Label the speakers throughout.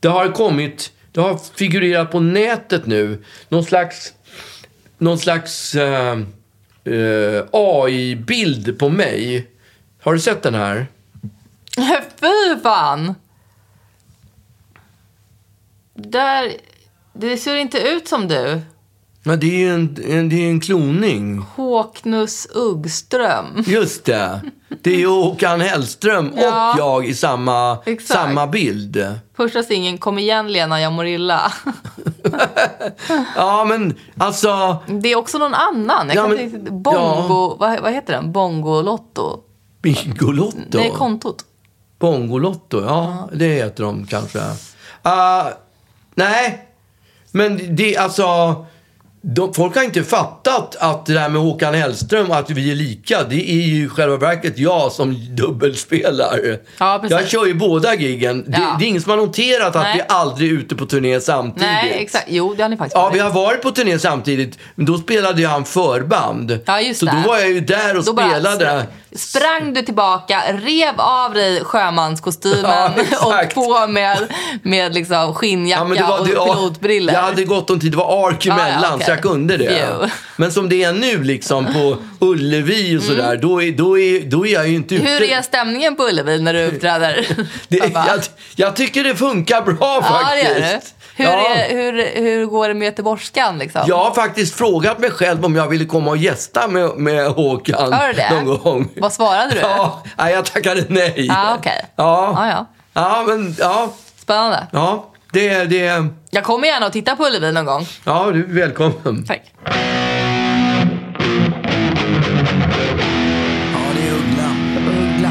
Speaker 1: Det har kommit, det har figurerat på nätet nu, någon slags, någon slags eh, eh, AI-bild på mig. Har du sett den här?
Speaker 2: Fy fan! Där... Det ser inte ut som du.
Speaker 1: Ja, det är ju en, en, det är en kloning.
Speaker 2: Håknus Uggström.
Speaker 1: Just det. Det är ju Håkan Hellström och
Speaker 2: Ja.
Speaker 1: jag i samma,
Speaker 2: Exakt.
Speaker 1: samma bild.
Speaker 2: Första singeln Kom igen Lena, jag mår illa.
Speaker 1: Ja, men alltså...
Speaker 2: Det är också någon annan. Jag
Speaker 1: Ja,
Speaker 2: kan
Speaker 1: men-
Speaker 2: inte riktigt... Bongo... Vad, vad heter den? Bongolotto?
Speaker 1: Bingolotto.
Speaker 2: Nej, kontot.
Speaker 1: Bongolotto, ja, det heter de kanske. Ah, nej, men det alltså... De, folk har inte fattat att det där med Håkan Hellström, att vi är lika, det är ju i själva verket jag som dubbelspelar.
Speaker 2: Ja, precis.
Speaker 1: jag kör ju båda giggen. Det,
Speaker 2: Ja.
Speaker 1: det är ingen som har noterat att
Speaker 2: Nej.
Speaker 1: vi aldrig är ute på turné samtidigt.
Speaker 2: Nej, exakt. Jo, det har ni faktiskt
Speaker 1: Ja,
Speaker 2: varit.
Speaker 1: vi har varit på turné samtidigt, men då spelade ju han förband.
Speaker 2: Ja, just
Speaker 1: Så
Speaker 2: det.
Speaker 1: då var jag ju där och
Speaker 2: Då bara
Speaker 1: spelade.
Speaker 2: Sprang du tillbaka, rev av dig
Speaker 1: Ja,
Speaker 2: sjömanskostymen och
Speaker 1: exakt.
Speaker 2: på med, med liksom
Speaker 1: Ja,
Speaker 2: skinnjacka
Speaker 1: men det var,
Speaker 2: och
Speaker 1: det, ja,
Speaker 2: pilotbrillor.
Speaker 1: Jag hade gott om tid. Det var ark
Speaker 2: ja,
Speaker 1: emellan, så
Speaker 2: okej.
Speaker 1: jag kunde det.
Speaker 2: Phew.
Speaker 1: Men som det är nu liksom på Ullevi och sådär, då, är, då, är, då är jag ju inte ute.
Speaker 2: Mm. Hur är stämningen på Ullevi när du uppträder?
Speaker 1: det,
Speaker 2: Pappa?
Speaker 1: jag, jag tycker det funkar bra
Speaker 2: ja, det
Speaker 1: faktiskt.
Speaker 2: gör du. Hur,
Speaker 1: Ja.
Speaker 2: är, hur, hur går det med göteborgskan liksom?
Speaker 1: Jag har faktiskt frågat mig själv om jag ville komma och gästa med, med Håkan
Speaker 2: Hör du det?
Speaker 1: någon gång.
Speaker 2: Vad svarade du?
Speaker 1: Ja, nej, jag tackade nej.
Speaker 2: Ah, okej.
Speaker 1: ja.
Speaker 2: Ah, ja.
Speaker 1: ja, men ja.
Speaker 2: Spännande.
Speaker 1: Ja, det, det,
Speaker 2: Jag kommer gärna och titta på Ullevi någon gång.
Speaker 1: ja, du är välkommen.
Speaker 2: Tack.
Speaker 1: Ja, det är Uggla.
Speaker 2: Uggla.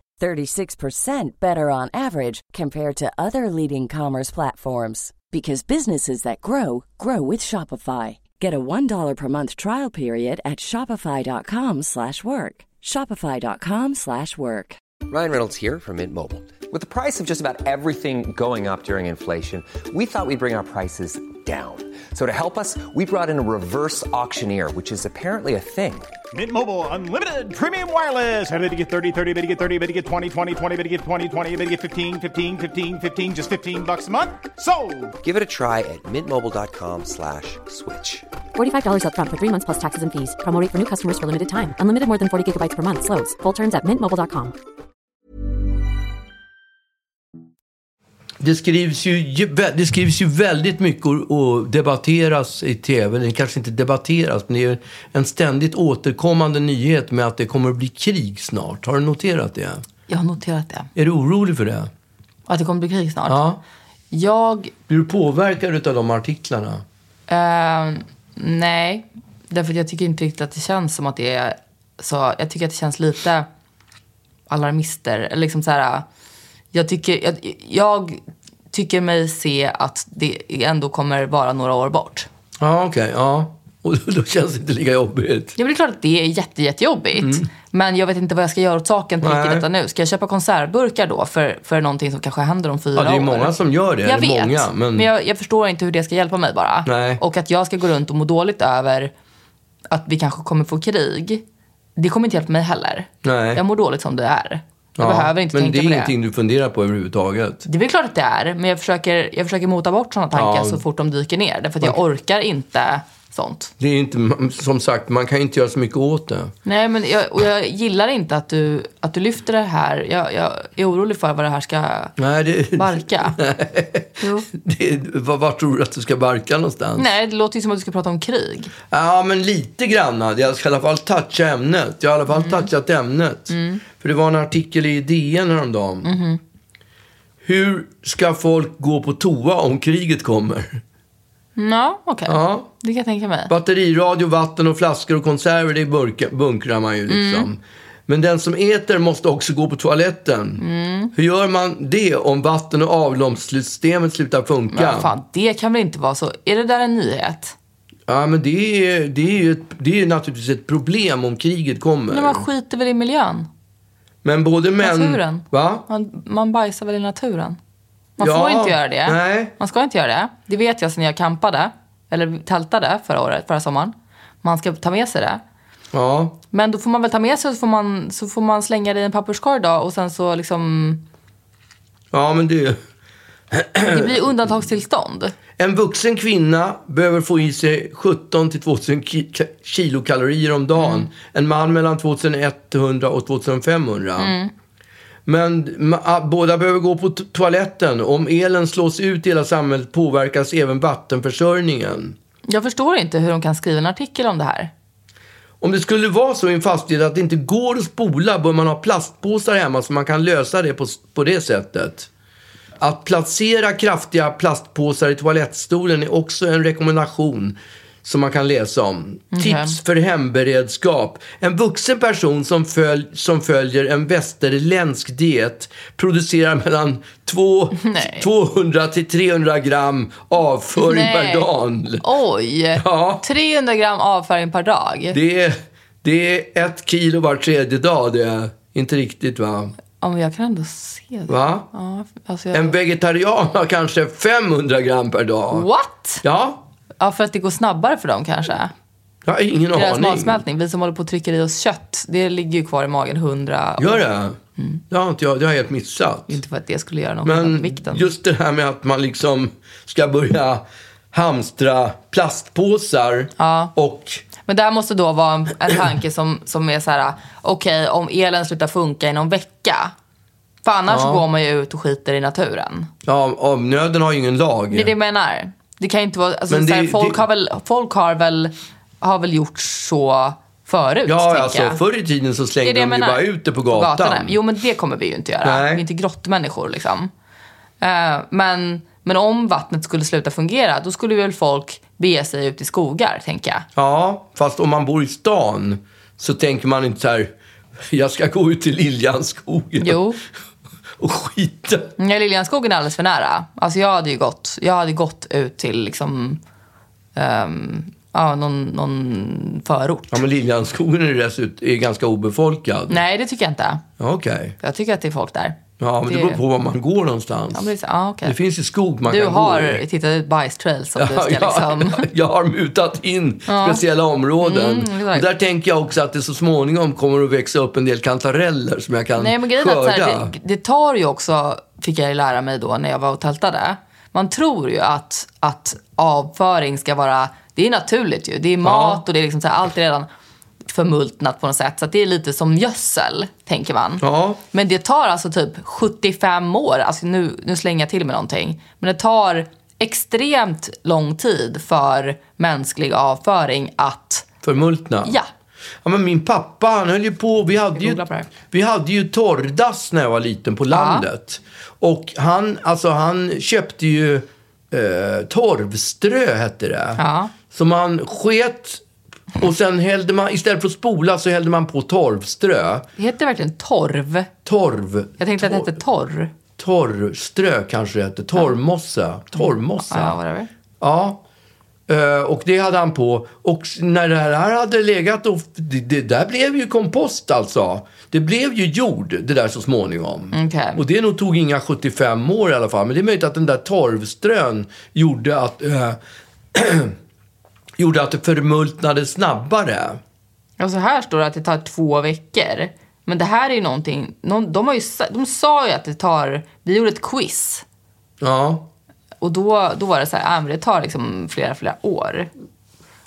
Speaker 3: 36% better on average compared to other leading commerce platforms because businesses that grow grow with Shopify. Get a $1 per month trial period at shopify.com/work. shopify.com/work.
Speaker 4: Ryan Reynolds here from Mint Mobile. With the price of just about everything going up during inflation, we thought we'd bring our prices down. So to help us, we brought in a reverse auctioneer, which is apparently a thing.
Speaker 5: Mint Mobile unlimited premium wireless. Ready to get 30, 30, bit to get 30, bit to get 20, 20, 20, bit to get 20, 20, bit to get 15, 15, 15, 15 just 15 bucks a month. Sold.
Speaker 4: Give it a try at mintmobile.com slash switch.
Speaker 6: $45 upfront for three months plus taxes and fees. Promo rate for new customers for limited time. Unlimited more than 40 gigabytes per month. Slows. Full terms at mintmobile.com.
Speaker 1: Det skrivs, ju, det skrivs ju väldigt mycket och, och debatteras i tv. Det kanske inte debatteras, men det är en ständigt återkommande nyhet med att det kommer att bli krig snart. Har du noterat det?
Speaker 2: Jag har noterat det.
Speaker 1: Är du orolig för det?
Speaker 2: Att det kommer bli krig snart.
Speaker 1: Ja.
Speaker 2: Jag
Speaker 1: Blir du påverkad av de artiklarna?
Speaker 2: Ehm, nej, därför att jag tycker inte riktigt att det känns som att det är så. Jag tycker att det känns lite alarmister. Eller liksom så här, jag, tycker, jag, jag tycker mig se att det ändå kommer vara några år bort.
Speaker 1: Ja, okej. ja. Och då- då känns det inte lika jobbigt.
Speaker 2: Ja, men det är klart att det är jätte, jättejobbigt. Men jag vet inte vad jag ska göra åt saken på
Speaker 1: Nej.
Speaker 2: riktigt detta nu. Ska jag köpa konservburkar då för, för någonting som kanske händer om fyra
Speaker 1: Ja,
Speaker 2: år?
Speaker 1: det är många som gör det.
Speaker 2: Jag
Speaker 1: Eller
Speaker 2: vet,
Speaker 1: många, men...
Speaker 2: jag, jag förstår inte hur det ska hjälpa mig bara.
Speaker 1: Nej.
Speaker 2: Och att jag ska gå runt och må dåligt över att vi kanske kommer få krig. Det kommer inte hjälpa mig heller.
Speaker 1: Nej.
Speaker 2: Jag mår dåligt som det är. Jag
Speaker 1: Ja,
Speaker 2: behöver inte
Speaker 1: men
Speaker 2: tänka
Speaker 1: det är
Speaker 2: på det.
Speaker 1: ingenting du funderar på överhuvudtaget.
Speaker 2: Det är väl klart att det är, men jag försöker, jag försöker mota bort sådana tankar
Speaker 1: Ja.
Speaker 2: så fort de dyker ner. Därför att jag orkar inte sånt.
Speaker 1: Det är inte, som sagt, man kan inte göra så mycket åt det.
Speaker 2: Nej, men jag, och jag gillar inte att du, att du lyfter det här. Jag, jag är orolig för vad det här ska
Speaker 1: Nej, det...
Speaker 2: barka. Jo.
Speaker 1: Det, var, var tror du att du ska barka någonstans?
Speaker 2: Nej, det låter ju som att du ska prata om krig.
Speaker 1: Ja, men lite grann. Jag ska i alla fall toucha ämnet. Jag har i alla
Speaker 2: Mm.
Speaker 1: fall touchat ämnet. För det var en artikel i DN häromdagen.
Speaker 2: Mm-hmm.
Speaker 1: Hur ska folk gå på toa om kriget kommer?
Speaker 2: Ja, okej.
Speaker 1: Ja.
Speaker 2: Det kan jag tänka mig. Mm.
Speaker 1: Batteriradio, vatten och flaskor och konserver, det burka- bunkrar man ju liksom. Men den som äter måste också gå på toaletten.
Speaker 2: Mm.
Speaker 1: Hur gör man det om vatten och avloppssystemet slutar funka?
Speaker 2: Men fan, det kan väl inte vara så? Är det där en nyhet?
Speaker 1: Ja, men det är, det, är ju ett, det är ju naturligtvis ett problem om kriget kommer.
Speaker 2: Men man skiter väl i miljön?
Speaker 1: Men både män...
Speaker 2: Naturen?
Speaker 1: Va?
Speaker 2: Man, man bajsar väl i naturen? Man
Speaker 1: Ja,
Speaker 2: får inte göra det.
Speaker 1: nej.
Speaker 2: Man ska inte göra det. Det vet jag sen jag campade, eller tältade förra året, förra sommaren. Man ska ta med sig det.
Speaker 1: Ja.
Speaker 2: Men då får man väl ta med sig och så får man, så får man slänga det i en papperskorg då och sen så liksom...
Speaker 1: ja, men det...
Speaker 2: Det
Speaker 1: Eh.
Speaker 2: blir undantagstillstånd.
Speaker 1: En vuxen kvinna behöver få i sig 17 till 2000 ki- ka- kilokalorier om dagen.
Speaker 2: Mm.
Speaker 1: En man mellan 2100 och 2500.
Speaker 2: Mm.
Speaker 1: Men ma- a- båda behöver gå på to- toaletten. Om elen slås ut i hela samhället påverkas även vattenförsörjningen.
Speaker 2: Jag förstår inte hur de kan skriva en artikel om det här.
Speaker 1: Om det skulle vara så i en fastighet att det inte går att spola bör man ha plastpåsar hemma så man kan lösa det på, på det sättet. Att placera kraftiga plastpåsar i toalettstolen är också en rekommendation som man kan läsa om. Tips för hemberedskap. En vuxen person som, följ, som följer en västerländsk diet producerar mellan två,
Speaker 2: Nej.
Speaker 1: 200 till 300 gram avföring per dag.
Speaker 2: Oj!
Speaker 1: Ja.
Speaker 2: 300 gram avföring per dag.
Speaker 1: Det är, det är ett kilo var tredje dag det. är Inte riktigt va?
Speaker 2: Ja, men jag kan ändå se det.
Speaker 1: Va?
Speaker 2: Ja, alltså jag...
Speaker 1: En vegetarian har kanske 500 gram per dag.
Speaker 2: What?
Speaker 1: Ja,
Speaker 2: Ja, för att det går snabbare för dem kanske.
Speaker 1: jag har ingen
Speaker 2: Deras
Speaker 1: aning.
Speaker 2: matsmältning. Vi som håller på och trycker i oss kött, det ligger ju kvar i magen 100 år.
Speaker 1: Gör det? Det har inte jag, det har jag helt missat.
Speaker 2: Mm. Inte för att det skulle göra något med
Speaker 1: Men
Speaker 2: vikten.
Speaker 1: just det här med att man liksom ska börja hamstra plastpåsar
Speaker 2: Ja.
Speaker 1: och...
Speaker 2: Men det här måste då vara en, en tanke som, som är så här: okej om elen slutar funka i någon vecka. För annars går man ju ut och skiter i naturen.
Speaker 1: Ja, av nöden har ju ingen lag.
Speaker 2: Det är det jag menar. Det kan ju inte vara, alltså,
Speaker 1: Men
Speaker 2: så här,
Speaker 1: det-
Speaker 2: folk,
Speaker 1: det-
Speaker 2: Har väl, folk har väl, har väl gjort så förut,
Speaker 1: ja,
Speaker 2: tänker
Speaker 1: alltså
Speaker 2: jag.
Speaker 1: förr i tiden så
Speaker 2: Det
Speaker 1: slängde
Speaker 2: är
Speaker 1: de
Speaker 2: det jag
Speaker 1: ju
Speaker 2: menar.
Speaker 1: bara ut det på gatan.
Speaker 2: gatorna. Jo, men det kommer vi ju inte göra.
Speaker 1: Nej.
Speaker 2: Vi är inte grottmänniskor liksom. Eh, men, men om vattnet skulle sluta fungera, då skulle väl folk bege sig ut i skogar, tänker jag.
Speaker 1: Ja, fast om man bor i stan så tänker man inte så här, jag ska gå ut till Liljanskogen
Speaker 2: Jo.
Speaker 1: och skita.
Speaker 2: Ja, Liljanskogen är alldeles för nära. Alltså jag hade ju gått, jag hade gått ut till liksom, ehm, ja, någon, någon förort.
Speaker 1: Ja, men Liljanskogen är dessutom är ganska obefolkad.
Speaker 2: Nej, det tycker jag inte.
Speaker 1: Ja, Okej.
Speaker 2: Jag tycker att det är folk där.
Speaker 1: Ja, men det... beror på var man går någonstans.
Speaker 2: Ja, men det, är så- ja, okej.
Speaker 1: Det finns ju skog man
Speaker 2: du
Speaker 1: kan gå
Speaker 2: har
Speaker 1: i.
Speaker 2: tittat ut Bice Trails som du
Speaker 1: Ja,
Speaker 2: ska
Speaker 1: jag,
Speaker 2: liksom... Mm,
Speaker 1: jag har mutat in speciella områden.
Speaker 2: exakt.
Speaker 1: och där tänker jag också att det så småningom kommer att växa upp en del kantareller som jag kan
Speaker 2: Nej, men grejen är att så
Speaker 1: skörda.
Speaker 2: här, det, det tar ju också, fick jag ju lära mig då när jag var och tältade. Man tror ju att, att avföring ska vara, det är naturligt ju. Det är mat och det är liksom så här, allt är redan förmultnat på något sätt. Så att det är lite som gödsel, tänker man.
Speaker 1: Ja.
Speaker 2: Men det tar alltså typ 75 år, alltså nu, nu slänger jag till med någonting. Men det tar extremt lång tid för mänsklig avföring att,
Speaker 1: Förmultna?
Speaker 2: Ja.
Speaker 1: Ja, men min pappa, han höll ju på... Vi hade, ju,
Speaker 2: googlar på det här.
Speaker 1: vi hade ju torrdass när jag var liten på landet. Och han, alltså, han köpte ju eh, torvströ, hette det.
Speaker 2: Ja.
Speaker 1: Som man sket och sen hällde man, istället för att spola så hällde man på torvströ.
Speaker 2: heter det verkligen torv?
Speaker 1: Torv.
Speaker 2: Jag tänkte att det hette torr.
Speaker 1: Torvströ kanske det hette. Torvmossa. Torvmossa.
Speaker 2: Ja, whatever.
Speaker 1: Ja. Eh, Och det hade han på. Och s- när det här hade legat och... Det, det där blev ju kompost alltså. Det blev ju jord det där så småningom.
Speaker 2: Okej.
Speaker 1: Och det nog tog inga 75 år i alla fall. Men det är möjligt att den där torvströn gjorde att... eh, gjorde att det förmultnade snabbare.
Speaker 2: Och så här står det att det tar två veckor. Men det här är ju någonting, någon, de, har ju, sa- de sa ju att det tar, vi gjorde ett quiz.
Speaker 1: Ja.
Speaker 2: Och då, då var det så här, ah, men det tar liksom flera, flera år.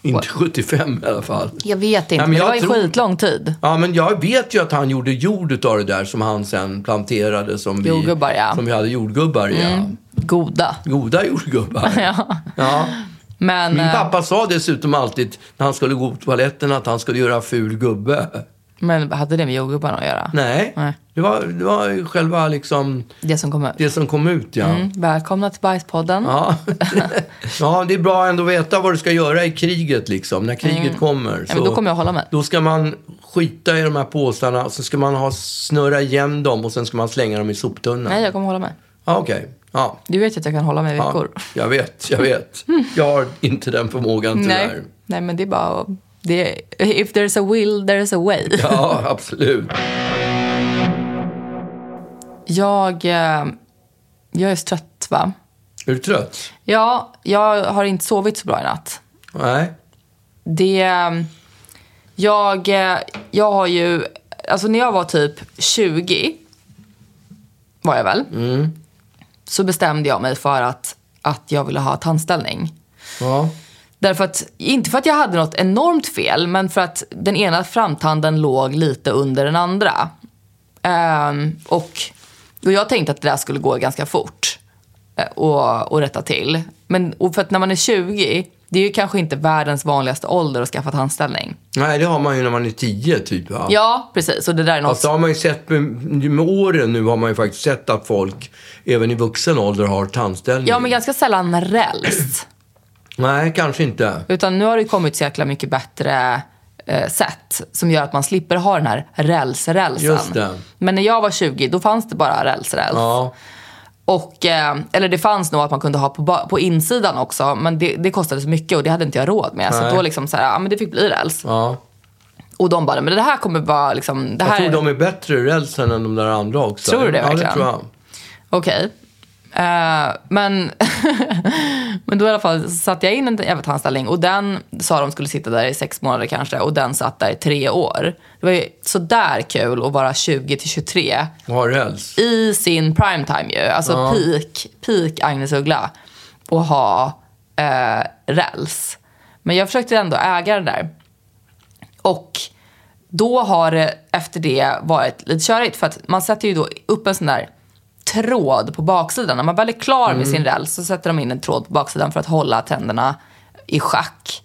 Speaker 1: Inte 75 i alla fall.
Speaker 2: Jag vet inte,
Speaker 1: Ja, men
Speaker 2: men det
Speaker 1: jag
Speaker 2: var ju
Speaker 1: tror-
Speaker 2: skitlång tid.
Speaker 1: Ja, men jag vet ju att han gjorde jord utav det där som han sen planterade som vi,
Speaker 2: Jordgubbar, ja.
Speaker 1: som vi hade jordgubbar i.
Speaker 2: Goda.
Speaker 1: Ja. Goda jordgubbar.
Speaker 2: Ja.
Speaker 1: Ja.
Speaker 2: Men,
Speaker 1: Min
Speaker 2: eh,
Speaker 1: pappa sa dessutom alltid när han skulle gå på toaletten att han skulle göra ful gubbe.
Speaker 2: men hade det med jordgubbarna att göra?
Speaker 1: Nej,
Speaker 2: Nej.
Speaker 1: Det, var, det var ju själva liksom
Speaker 2: Det som kom ut.
Speaker 1: det som kom ut. Ja.
Speaker 2: Mm. Välkomna till Bajspodden.
Speaker 1: Ja. ja, det är
Speaker 2: Mm.
Speaker 1: bra ändå att veta vad du ska göra i kriget liksom, när kriget kommer.
Speaker 2: Ja, men då kommer jag hålla mig.
Speaker 1: Då ska man skita i de här påsarna och så ska man ha, snurra igen dem och sen ska man slänga dem i soptunnan.
Speaker 2: Nej, jag kommer hålla mig.
Speaker 1: Ja, okej. Ja.
Speaker 2: Du vet ju att jag kan hålla mig i veckor.
Speaker 1: Ja, jag vet, jag vet. Jag har inte den förmågan tyvärr.
Speaker 2: Nej. Nej, men det är bara att- det är, If there's a will, there's a way.
Speaker 1: Ja, absolut.
Speaker 2: Jag, eh, jag är så trött, va?
Speaker 1: Är du trött?
Speaker 2: Ja, jag har inte sovit så bra i natt.
Speaker 1: Nej.
Speaker 2: Det... eh, Jag, eh, jag har ju... Alltså när jag var typ 20, var jag väl, så bestämde jag mig för att, att jag ville ha tandställning.
Speaker 1: Ja.
Speaker 2: Därför att, inte för att jag hade något enormt fel, men för att den ena framtanden låg lite under den andra. Ehm, och, och jag tänkte att det där skulle gå ganska fort eh, och, och rätta till. Men och för att när man är 20, det är ju kanske inte världens vanligaste ålder att skaffa tandställning.
Speaker 1: Nej, det har man ju när man är tio typ. Va?
Speaker 2: Ja, precis. Och det där är något...
Speaker 1: Alltså har man ju sett med, med åren nu har man ju faktiskt sett att folk även i vuxen ålder har tandställning.
Speaker 2: ja, men ganska sällan räls.
Speaker 1: Nej, kanske inte.
Speaker 2: Utan nu har det ju kommit så jäkla mycket bättre eh, sätt som gör att man slipper ha den här räls-rälsen.
Speaker 1: Just det.
Speaker 2: Men när jag var 20, då fanns det bara räls-räls.
Speaker 1: Ja.
Speaker 2: Och, eh, eller det fanns nog att man kunde ha på, ba- på insidan också, men det, det kostade så mycket och det hade inte jag råd med. Så
Speaker 1: Nej.
Speaker 2: att då liksom så här, ja men det fick bli räls.
Speaker 1: ja.
Speaker 2: Och de bara, men det här kommer vara liksom, det
Speaker 1: Jag
Speaker 2: här
Speaker 1: tror de är bättre i rälsen än de där andra också.
Speaker 2: Tror du det verkligen?
Speaker 1: Ja, det tror jag.
Speaker 2: Okej. Eh, men, men då i alla fall satte jag in en jävla tandställning och den sa de skulle sitta där i sex månader kanske och den satt där i tre år. Det var ju sådär kul att vara 20 till 23
Speaker 1: Och har räls.
Speaker 2: i sin primetime ju. Alltså peak, peak Agnes Uggla. Och ha eh, räls. Men jag försökte ändå äga det där. Och då har det efter det varit lite körigt. För att man sätter ju då upp en sån där tråd på baksidan. När man väl är klar med sin räls så sätter de in en tråd på baksidan för att hålla tänderna i schack.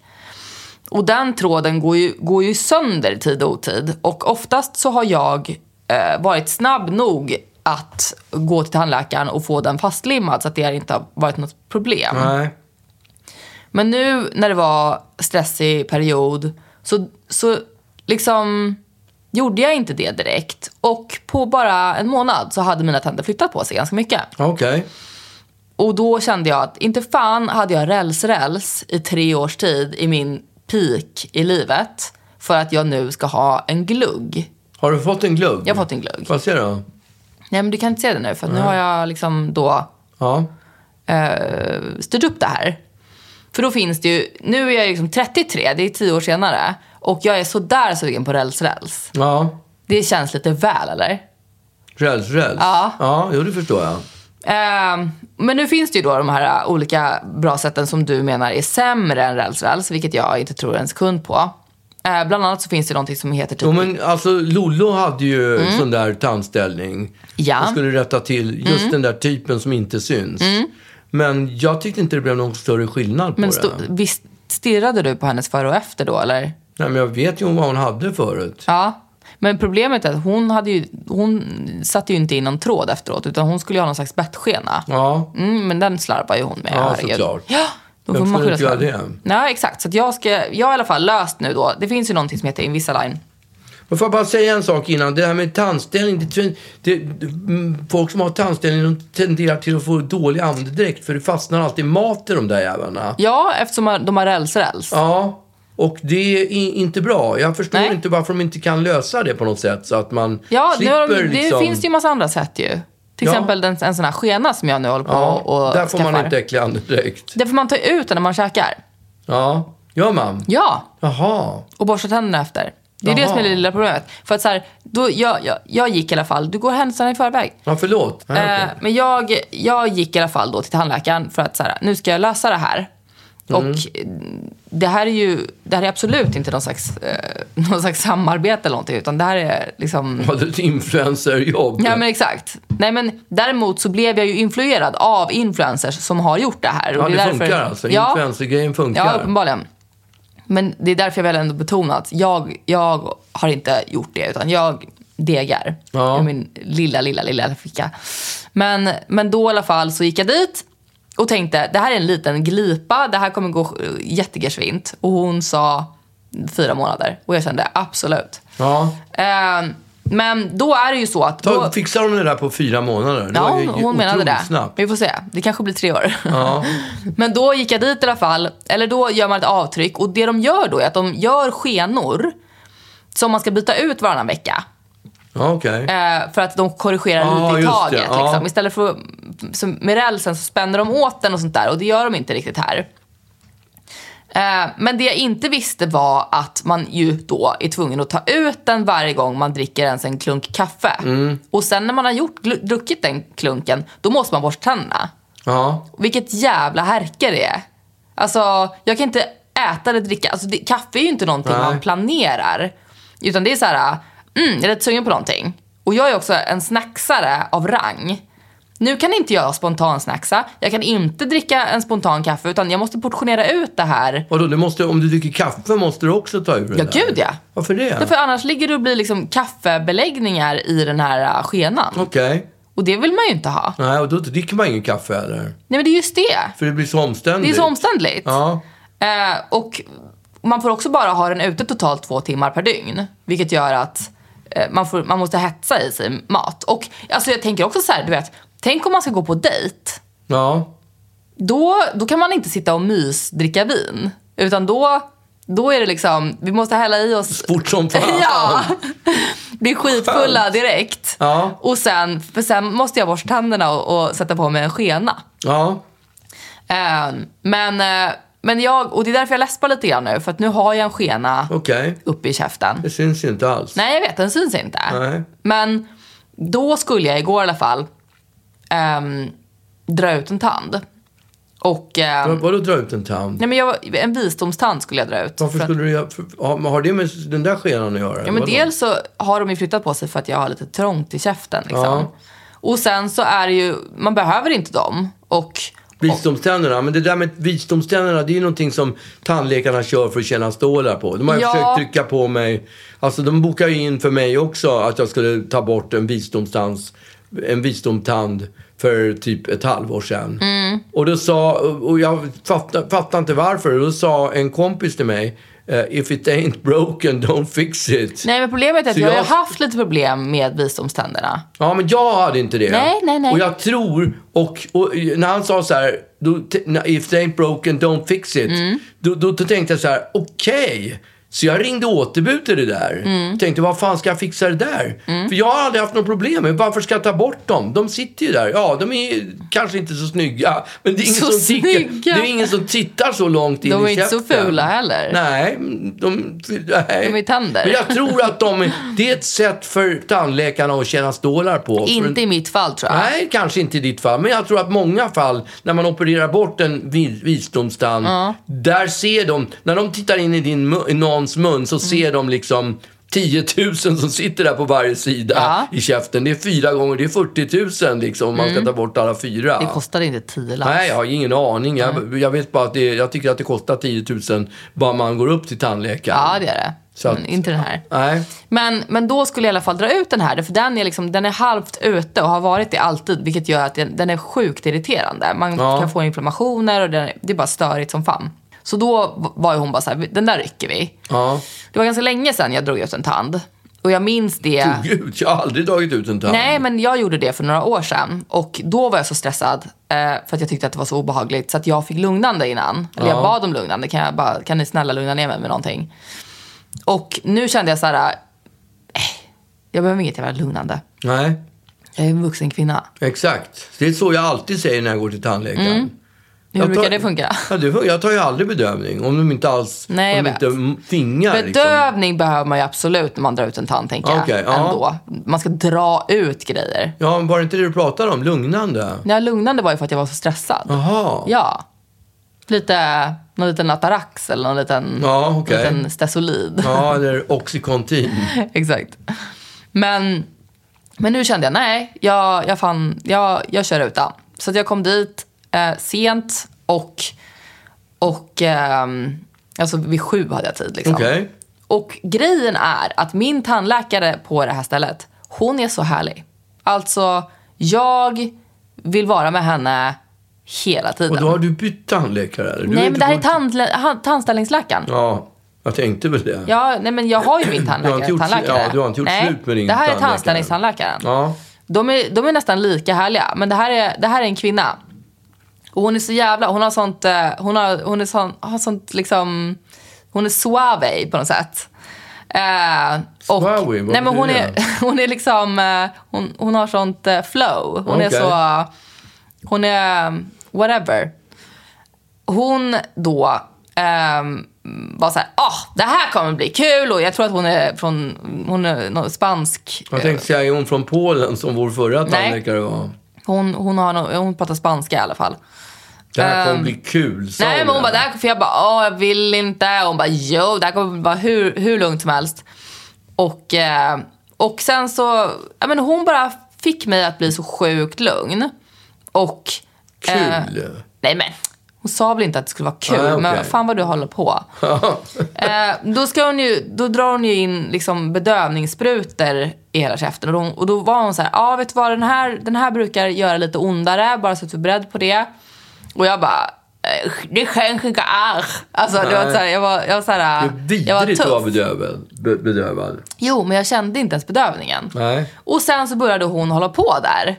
Speaker 2: Och den tråden går ju, går ju sönder i tid och otid. Och oftast så har jag eh, varit snabb nog att gå till tandläkaren och få den fastlimmad så att det inte har varit något problem.
Speaker 1: Nej.
Speaker 2: Men nu när det var stressig period så, så liksom gjorde jag inte det direkt. Och på bara en månad så hade mina tänder flyttat på sig ganska mycket.
Speaker 1: Okej.
Speaker 2: Och då kände jag att inte fan hade jag räls-räls i tre års tid i min peak i livet för att jag nu ska ha en glugg.
Speaker 1: Har du fått en glugg?
Speaker 2: Jag har fått en glugg.
Speaker 1: Vad ser du?
Speaker 2: Nej men du kan inte se det nu för att nu har jag liksom då
Speaker 1: Ja.
Speaker 2: eh, styrt upp det här. För då finns det ju, nu är jag liksom 33, det är tio år senare och jag är sådär sugen på räls-räls.
Speaker 1: Ja.
Speaker 2: Det känns lite väl eller?
Speaker 1: Räls, räls.
Speaker 2: Ja.
Speaker 1: Ja, jo, det förstår jag.
Speaker 2: Ehm, men nu finns det ju då de här äh, olika bra sätten som du menar är sämre än rälsräls, vilket jag inte tror en sekund på. Eh, bland annat så finns det någonting som heter typ...
Speaker 1: Jo, men alltså Lollo hade ju
Speaker 2: Mm.
Speaker 1: sån där tandställning.
Speaker 2: Ja. Mm.
Speaker 1: Och skulle rätta till just den där typen som inte syns. Men jag tyckte inte det blev någon större skillnad på
Speaker 2: men stå,
Speaker 1: det.
Speaker 2: visst stirrade du på hennes före och efter då eller?
Speaker 1: Nej, men jag vet ju vad hon hade förut.
Speaker 2: Ja. Men problemet är att hon, hade ju, hon satte ju inte in någon tråd efteråt utan hon skulle ju ha någon slags bettskena.
Speaker 1: Ja.
Speaker 2: Mm, men den slarvar ju hon med.
Speaker 1: Ja,
Speaker 2: herregud.
Speaker 1: såklart.
Speaker 2: Ja, då
Speaker 1: Vem
Speaker 2: får man
Speaker 1: skulle
Speaker 2: skylla
Speaker 1: inte
Speaker 2: sig
Speaker 1: göra
Speaker 2: själv.
Speaker 1: det?
Speaker 2: Nej, exakt. Så att jag, ska, jag har i alla fall löst nu då. Det finns ju någonting som heter Invisalign.
Speaker 1: Men får jag bara säga en sak innan? Det här med tandställning. Det, tror- det, mm, folk som har tandställning de tenderar till att få dålig andedräkt för det fastnar alltid mat i de där jävlarna.
Speaker 2: Ja, eftersom man- de har rälsräls.
Speaker 1: Ja, och det är i- inte bra. Jag förstår
Speaker 2: Nej.
Speaker 1: inte varför de inte kan lösa det på något sätt så att man
Speaker 2: Ja, nu
Speaker 1: slipper
Speaker 2: har de, det
Speaker 1: liksom...
Speaker 2: finns ju en massa andra sätt ju. Till
Speaker 1: Ja.
Speaker 2: exempel den, en sån här skena som jag nu håller på
Speaker 1: Ja,
Speaker 2: och
Speaker 1: där får
Speaker 2: skaffar.
Speaker 1: man inte äcklig andedräkt.
Speaker 2: Därför man tar ut den när man käkar.
Speaker 1: Ja, gör man?
Speaker 2: Ja,
Speaker 1: Jaha.
Speaker 2: och borstar tänderna efter. Det är det
Speaker 1: Jaha.
Speaker 2: som är det lilla problemet. För att så här, då, jag, jag, jag gick i alla fall, du går händelserna i förväg.
Speaker 1: Ja, förlåt. Ja, okej.
Speaker 2: Eh, men jag, jag gick i alla fall då till tandläkaren för att så här, nu ska jag lösa det här.
Speaker 1: Mm.
Speaker 2: Och eh, det här är ju det här är absolut inte någon slags, eh, någon slags samarbete eller någonting utan det här är liksom
Speaker 1: Hade Eh, ett influencerjobb.
Speaker 2: Ja men exakt. Nej men däremot så blev jag ju influerad av influencers som har gjort det här.
Speaker 1: ja, det,
Speaker 2: är
Speaker 1: funkar alltså. Influencergrejen funkar.
Speaker 2: Ja, uppenbarligen. Men det är därför jag väl ändå betonar att jag, jag har inte gjort det utan jag degar
Speaker 1: Ja.
Speaker 2: i min lilla, lilla, lilla ficka. Men, men då i alla fall så gick jag dit och tänkte det här är en liten glipa, det här kommer gå eh, jättegersvint. Och hon sa fyra månader och jag kände absolut.
Speaker 1: Ja.
Speaker 2: Eh, men då är det ju så att...
Speaker 1: Ta,
Speaker 2: då,
Speaker 1: fixar de det där på fyra månader? Det
Speaker 2: Ja,
Speaker 1: var ju
Speaker 2: hon, hon
Speaker 1: otroligt
Speaker 2: menade det.
Speaker 1: Snabbt.
Speaker 2: Vi får se. Det kanske blir tre år.
Speaker 1: Ja.
Speaker 2: Men då gick jag dit i alla fall. Eller då gör man ett avtryck. Och det de gör då är att de gör skenor som man ska byta ut varannan vecka.
Speaker 1: Ja, okej.
Speaker 2: Eh, för att de korrigerar
Speaker 1: Ah,
Speaker 2: lite i
Speaker 1: just
Speaker 2: taget.
Speaker 1: det, ja.
Speaker 2: Liksom. Istället för som med rälsen så spänner de åt den och sånt där. Och det gör de inte riktigt här. Eh, men det jag inte visste var att man ju då är tvungen att ta ut den varje gång man dricker ens en klunk kaffe.
Speaker 1: Mm.
Speaker 2: Och sen när man har gjort, gl- druckit den klunken, då måste man borsta tänderna.
Speaker 1: Ja.
Speaker 2: Vilket jävla härke det är. Alltså, jag kan inte äta eller dricka. Alltså, det, kaffe är ju inte någonting
Speaker 1: Nej.
Speaker 2: man planerar. Utan det är så här, mm, jag är lite sugen på någonting. Och jag är också en snacksare av rang. Nu kan inte jag spontan snacksa. Jag kan inte dricka en spontan kaffe utan jag måste portionera ut det här.
Speaker 1: Vadå, du måste, om du dricker kaffe måste du också ta ur det
Speaker 2: Ja,
Speaker 1: där.
Speaker 2: gud ja.
Speaker 1: Varför det?
Speaker 2: Därför annars ligger det och blir liksom kaffebeläggningar i den här äh, skenan.
Speaker 1: Okej.
Speaker 2: Och det vill man ju inte ha.
Speaker 1: Nej, och då dricker man ingen kaffe heller.
Speaker 2: Nej men det är just det.
Speaker 1: För det blir så omständigt.
Speaker 2: Det är så omständligt.
Speaker 1: Ja.
Speaker 2: Eh, och man får också bara ha den ute totalt två timmar per dygn. Vilket gör att eh, man, får, man måste hetsa i sig mat. Och alltså, jag tänker också så här, du vet. Tänk om man ska gå på dejt.
Speaker 1: Ja.
Speaker 2: Då, då kan man inte sitta och mysdricka vin. Utan då, då är det liksom, vi måste hälla i oss...
Speaker 1: Fort som fan.
Speaker 2: Ja! Bli skitfulla direkt.
Speaker 1: Ja.
Speaker 2: Och sen, för sen måste jag borsta tänderna och, och sätta på mig en skena.
Speaker 1: Ja.
Speaker 2: Eh, men, eh, men jag, och det är därför jag läspar lite grann nu. För att nu har jag en skena
Speaker 1: Okej.
Speaker 2: uppe i käften.
Speaker 1: Det syns ju inte alls.
Speaker 2: Nej, jag vet, den syns inte.
Speaker 1: Nej.
Speaker 2: Men då skulle jag igår i alla fall ehm, dra ut en tand. Och... ehm,
Speaker 1: Vad- Vadå dra ut en tand?
Speaker 2: nej, men jag, var- en visdomstand skulle jag dra ut.
Speaker 1: Varför
Speaker 2: För att-
Speaker 1: skulle du göra... för- Har har det med den där skenan att göra?
Speaker 2: Ja, men
Speaker 1: Vadå?
Speaker 2: dels så har de ju flyttat på sig för att jag har lite trångt i käften. Liksom.
Speaker 1: Ja.
Speaker 2: Och sen så är det ju, man behöver inte dem. Och
Speaker 1: Visdomständerna, men det där med visdomständerna det är ju någonting som tandläkarna kör för att tjäna stålar på. De har ju
Speaker 2: Ja.
Speaker 1: försökt trycka på mig, alltså de bokar ju in för mig också att jag skulle ta bort en visdomstands, en visdomstand för typ ett halvår sedan.
Speaker 2: Mm.
Speaker 1: Och då sa, och jag fattar, fattar inte varför, då sa en kompis till mig eh, If it ain't broken, don't fix it.
Speaker 2: Nej men problemet är att
Speaker 1: Så
Speaker 2: jag, har
Speaker 1: jag-
Speaker 2: ju haft lite problem med visdomständerna.
Speaker 1: Ja, men jag hade inte det.
Speaker 2: Nej, nej, nej.
Speaker 1: Och jag tror, och, och när han sa så här, då, t- na- if they ain't broken, don't fix it.
Speaker 2: Mm.
Speaker 1: Då, då, då tänkte jag så här, okej. Så jag ringde återbud till det där.
Speaker 2: Mm.
Speaker 1: Tänkte, vad fan ska jag fixa det där? För jag har aldrig haft något problem med, varför ska jag ta bort dem? De sitter ju där. Ja, de är ju kanske inte så snygga. Men det är ingen,
Speaker 2: Så
Speaker 1: som, ticker, det
Speaker 2: snygga.
Speaker 1: är ingen som tittar så långt in
Speaker 2: De är
Speaker 1: i
Speaker 2: inte så
Speaker 1: käften.
Speaker 2: fula heller.
Speaker 1: Nej, de, nej.
Speaker 2: De är tänder.
Speaker 1: Men jag tror att de, är- det är ett sätt för tandläkarna att tjäna stålar på. För en-
Speaker 2: Inte i mitt fall tror jag.
Speaker 1: Nej, kanske inte i ditt fall. Men jag tror att många fall, när man opererar bort en vi- visdomstand, där ser de, när de tittar in i din mu- i någons mun
Speaker 2: Mm.
Speaker 1: så ser de liksom 10 000 som sitter där på varje sida
Speaker 2: Ja. Mm.
Speaker 1: i käften. Det är fyra gånger, det är 40 000 liksom om man ska ta bort alla fyra.
Speaker 2: Det kostade inte tio lax.
Speaker 1: Nej, jag har ingen aning. Jag, jag vet bara att det, jag tycker att det kostar 10 000 bara man går upp till tandläkaren.
Speaker 2: Ja det är det.
Speaker 1: Så att-
Speaker 2: men inte den här.
Speaker 1: Nej.
Speaker 2: Men, men då skulle jag i alla fall dra ut den här. För den är, liksom, den är halvt ute och har varit det alltid. Vilket gör att den, den är sjukt irriterande. Man
Speaker 1: Ja.
Speaker 2: kan få inflammationer och den, det är bara störigt som fan. Så då var ju hon bara så här, den där rycker vi.
Speaker 1: Ja.
Speaker 2: Det var ganska länge sedan jag drog ut en tand. Och jag minns det.
Speaker 1: Gud, jag har aldrig dragit ut en tand.
Speaker 2: Nej, men jag gjorde det för några år sedan. Och då var jag så stressad eh, för att jag tyckte att det var så obehagligt. Så att jag fick lugnande innan. Eller jag bad om lugnande. Kan, jag bara, kan ni snälla lugna ner mig med någonting? Och nu kände jag så här. Eh, jag behöver inget jävla lugnande.
Speaker 1: Nej.
Speaker 2: Jag är en vuxen kvinna.
Speaker 1: Exakt. Det är så jag alltid säger när jag går till tandläkaren.
Speaker 2: Hur
Speaker 1: Jag
Speaker 2: brukar
Speaker 1: tar-
Speaker 2: det funka?
Speaker 1: Ja, det funkar. Jag tar ju aldrig bedövning. Om de inte alls
Speaker 2: Nej,
Speaker 1: om
Speaker 2: jag
Speaker 1: de
Speaker 2: vet.
Speaker 1: inte m- tvingar. Liksom.
Speaker 2: Bedövning behöver man ju absolut när man drar ut en tand, tänker jag.
Speaker 1: Okej, ja.
Speaker 2: Ändå. Man ska dra ut grejer.
Speaker 1: Ja, men var det inte det du pratade om? Lugnande?
Speaker 2: När lugnande var ju för att jag var så stressad.
Speaker 1: Jaha.
Speaker 2: Ja. Lite, någon liten Atarax eller någon liten,
Speaker 1: Ja, okej.
Speaker 2: liten Stesolid.
Speaker 1: Ja, eller Oxycontin.
Speaker 2: Exakt. Men, men nu kände jag, nej, jag, jag, fan, jag, jag kör utan. Så att jag kom dit eh, sent och, och ehm, alltså vid sju hade jag tid. Liksom.
Speaker 1: Okej.
Speaker 2: Och grejen är att min tandläkare på det här stället, hon är så härlig. Alltså, jag vill vara med henne hela tiden.
Speaker 1: Och då har du bytt tandläkare? eller? Du
Speaker 2: Nej,
Speaker 1: är
Speaker 2: men
Speaker 1: inte
Speaker 2: det här är
Speaker 1: på-
Speaker 2: tandlä- han- tandställningsläkaren.
Speaker 1: Ja. Jag tänkte väl det.
Speaker 2: Ja, nej men jag har ju min tandläkare.
Speaker 1: inte gjort-
Speaker 2: tandläkare.
Speaker 1: ja, du har inte gjort
Speaker 2: nej,
Speaker 1: slut med din
Speaker 2: Det här är
Speaker 1: tandläkare.
Speaker 2: tandställningstandläkaren.
Speaker 1: Ja.
Speaker 2: De, är, de är nästan lika härliga. Men det här är, det här är en kvinna. Och hon är så jävla, hon har sånt, eh, hon har, hon är sån, har sånt liksom, hon är suave på något sätt. Eh, och,
Speaker 1: Suave, vad
Speaker 2: nej, men
Speaker 1: betyder
Speaker 2: hon, är,
Speaker 1: det?
Speaker 2: hon är liksom, eh, hon, hon har sånt eh, flow. Hon är
Speaker 1: Okej.
Speaker 2: så, hon är eh, whatever. Hon då ehm, var så här, ah, det här kommer bli kul och jag tror att hon är från, hon är någon spansk.
Speaker 1: Jag tänkte säga, är hon från Polen som vår förra tandläkare var?
Speaker 2: Hon, hon, har, no- hon pratar spanska i alla fall.
Speaker 1: Det här kommer bli kul, sa
Speaker 2: Ehm, Nej men hon bara, det här, för jag bara, åh jag vill inte. Och Hon bara, jo det här kommer vara hur, hur lugnt som helst. Och, eh, och sen så, ja men hon bara fick mig att bli så sjukt lugn. Och... eh,
Speaker 1: Kul!
Speaker 2: nej men, hon sa väl inte att det skulle vara kul.
Speaker 1: Nej, okej.
Speaker 2: Men fan vad du håller på. eh, då, ska hon ju, då drar hon ju in liksom bedövningssprutor i hela käften. Och, då- och då var hon så här, ja ah, vet du vad den här, den här brukar göra lite ondare. Bara så att du är beredd på det. Och jag bara, eh, det känns inte alls. Alltså det var
Speaker 1: Nej.
Speaker 2: så här, jag var, jag var så här,
Speaker 1: Det är
Speaker 2: jag var
Speaker 1: vidrigt att vara
Speaker 2: tuff.
Speaker 1: bedövad. Be- bedövad.
Speaker 2: Jo, men jag kände inte ens bedövningen.
Speaker 1: Nej.
Speaker 2: Och sen så började hon hålla på där.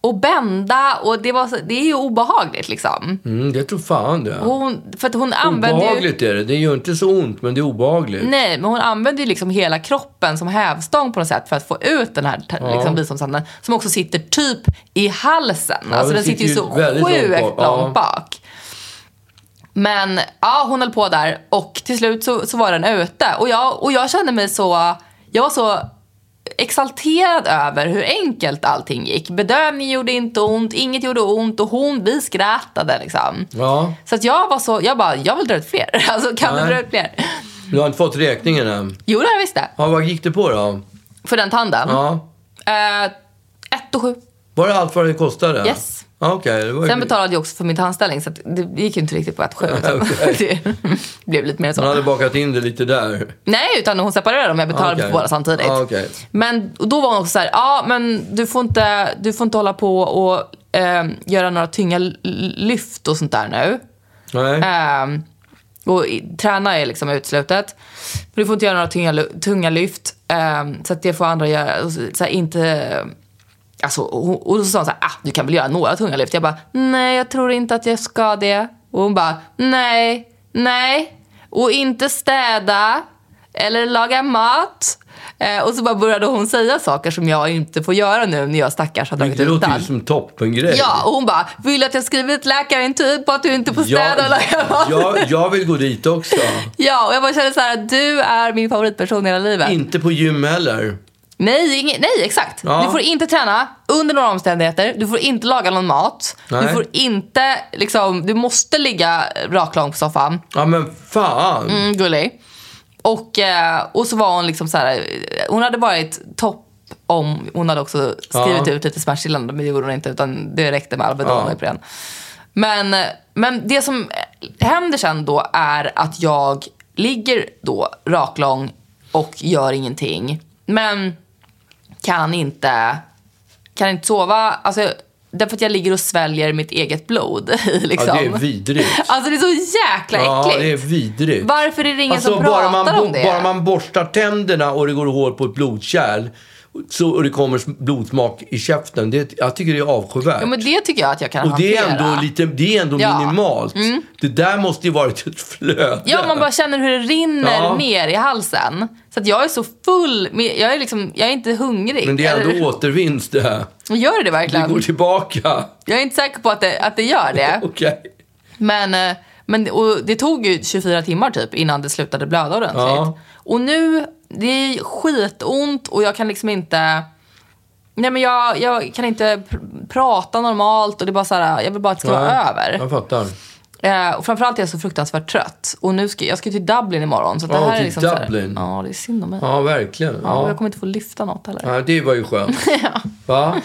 Speaker 2: Och bända och det, var så, det är ju obehagligt liksom.
Speaker 1: Mm, det tror fan det.
Speaker 2: Hon, för att hon använder ju...
Speaker 1: Obehagligt är det. Det gör inte så ont, men det är obehagligt.
Speaker 2: Nej, men hon använder ju liksom hela kroppen som hävstång på något sätt för att få ut den här ja. liksom, visdomstanden som också sitter typ i halsen. alltså
Speaker 1: den
Speaker 2: den sitter ju
Speaker 1: sitter
Speaker 2: så
Speaker 1: ju väldigt långt
Speaker 2: sjukt
Speaker 1: bak.
Speaker 2: långt bak.
Speaker 1: Ja.
Speaker 2: Men ja, hon höll på där och till slut så, så var den ute. Och jag, och jag kände mig så... Jag var så exalterad över hur enkelt allting gick. Bedövning gjorde inte ont, inget gjorde ont och hon, vi skrattade liksom.
Speaker 1: Ja.
Speaker 2: Så att jag var så, jag bara, jag vill dra ut fler. Alltså kan vi
Speaker 1: Nej.
Speaker 2: dra ut fler?
Speaker 1: Du har inte fått räkningen än.
Speaker 2: Jo, det har jag visst det.
Speaker 1: Ja, vad gick det på då?
Speaker 2: För den tanden.
Speaker 1: Ja.
Speaker 2: Eh, ett och sju.
Speaker 1: Var det allt vad det kostade?
Speaker 2: Yes.
Speaker 1: Ja, Okej, det var ju...
Speaker 2: Sen betalade jag också för min tandställning så att det gick ju inte riktigt på ett sju. utan det blev lite mer än så.
Speaker 1: Man hade bakat in det lite där.
Speaker 2: Nej, utan hon separerade dem. Jag betalade
Speaker 1: Okej.
Speaker 2: för båda samtidigt.
Speaker 1: Ja, okej.
Speaker 2: Men och då var hon också så här, ja men du får inte, du får inte hålla på och ehm, göra några tynga l- lyft och sånt där nu.
Speaker 1: Nej.
Speaker 2: Ehm, och i, träna är liksom uteslutet. Men du får inte göra några tunga, lu- tunga lyft. ehm, så att det får andra göra. Och Så, så här, inte... Alltså, och, och så sa hon så här, ah, du kan väl göra några tunga lyft? Jag bara, nej jag tror inte att jag ska det. Och hon bara, nej, nej. Och inte städa. Eller laga mat. Eh, och så bara började hon säga saker som jag inte får göra nu när jag stackars har dragit
Speaker 1: det
Speaker 2: ut
Speaker 1: låter ju
Speaker 2: tand.
Speaker 1: som toppengrej.
Speaker 2: Ja, och hon bara, vill du att jag skriver ett läkarintyg på att du inte får städa och
Speaker 1: jag,
Speaker 2: laga mat?
Speaker 1: jag, jag vill gå dit också.
Speaker 2: Ja, och jag bara kände så här, du är min favoritperson i hela livet.
Speaker 1: inte på gym heller.
Speaker 2: nej, ing- nej, exakt.
Speaker 1: Ja.
Speaker 2: Du får inte träna under några omständigheter. Du får inte laga någon mat. Du
Speaker 1: Nej.
Speaker 2: får inte, liksom, du måste ligga raklång på soffan.
Speaker 1: Ja, men fan.
Speaker 2: Mm, gullig. Och, eh, och så var hon liksom så här, eh, hon hade varit topp om hon hade också skrivit
Speaker 1: Ja.
Speaker 2: ut lite smärtstillande, men det gjorde hon inte utan det räckte med Alvedon och
Speaker 1: Ja.
Speaker 2: Ipren. Men, eh, men det som händer sen då är att jag ligger då raklång och gör ingenting. Men kan inte, kan inte sova. Alltså, därför att jag ligger och sväljer mitt eget blod. i, liksom.
Speaker 1: Ja, det är vidrigt.
Speaker 2: Alltså det är så jäkla
Speaker 1: Ja,
Speaker 2: äckligt.
Speaker 1: det är vidrigt.
Speaker 2: Varför är det ingen som
Speaker 1: Alltså, bara
Speaker 2: pratar
Speaker 1: man, bo-
Speaker 2: om det?
Speaker 1: Bara man borstar tänderna och det går hål på ett blodkärl så, och det kommer sm- blodsmak i käften. Det, jag tycker det är avskyvärt.
Speaker 2: Ja, men det tycker jag att jag kan
Speaker 1: och det
Speaker 2: hantera.
Speaker 1: är ändå, lite, det är ändå
Speaker 2: Ja. Mm.
Speaker 1: minimalt. Det där måste ju varit ett flöde.
Speaker 2: Ja, man bara känner hur det rinner
Speaker 1: Ja.
Speaker 2: ner i halsen. Så att jag är så full. med- Jag är, liksom, jag är inte hungrig.
Speaker 1: Men det är ändå återvinst det här.
Speaker 2: Gör det
Speaker 1: Det
Speaker 2: verkligen?
Speaker 1: går tillbaka.
Speaker 2: Jag är inte säker på att det, att det gör det.
Speaker 1: Okej.
Speaker 2: Men, eh, men och det tog ju 24 timmar typ innan det slutade blöda ordentligt.
Speaker 1: Ja.
Speaker 2: Och nu, det är skitont och jag kan liksom inte... Nej men jag, jag kan inte pr- prata normalt och det är bara så här, jag vill bara att det ska vara
Speaker 1: Nej,
Speaker 2: över.
Speaker 1: Jag fattar.
Speaker 2: Eh, och framförallt är jag så fruktansvärt trött. Och nu ska, jag ska till Dublin imorgon. Så att det
Speaker 1: Ja,
Speaker 2: här är
Speaker 1: till
Speaker 2: liksom så här-
Speaker 1: Dublin.
Speaker 2: Ja, det är synd om mig. Ja.
Speaker 1: Ja, verkligen.
Speaker 2: och
Speaker 1: Ja.
Speaker 2: jag kommer inte få lyfta något heller.
Speaker 1: Ja, det var ju skönt. Va?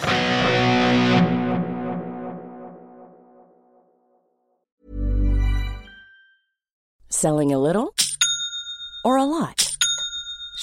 Speaker 3: Selling a little or a lot?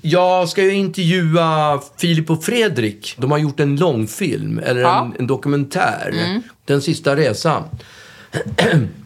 Speaker 1: Jag ska ju intervjua Filip och Fredrik. De har gjort en långfilm, eller
Speaker 2: Ja. Mm.
Speaker 1: en, en dokumentär. Den sista resan.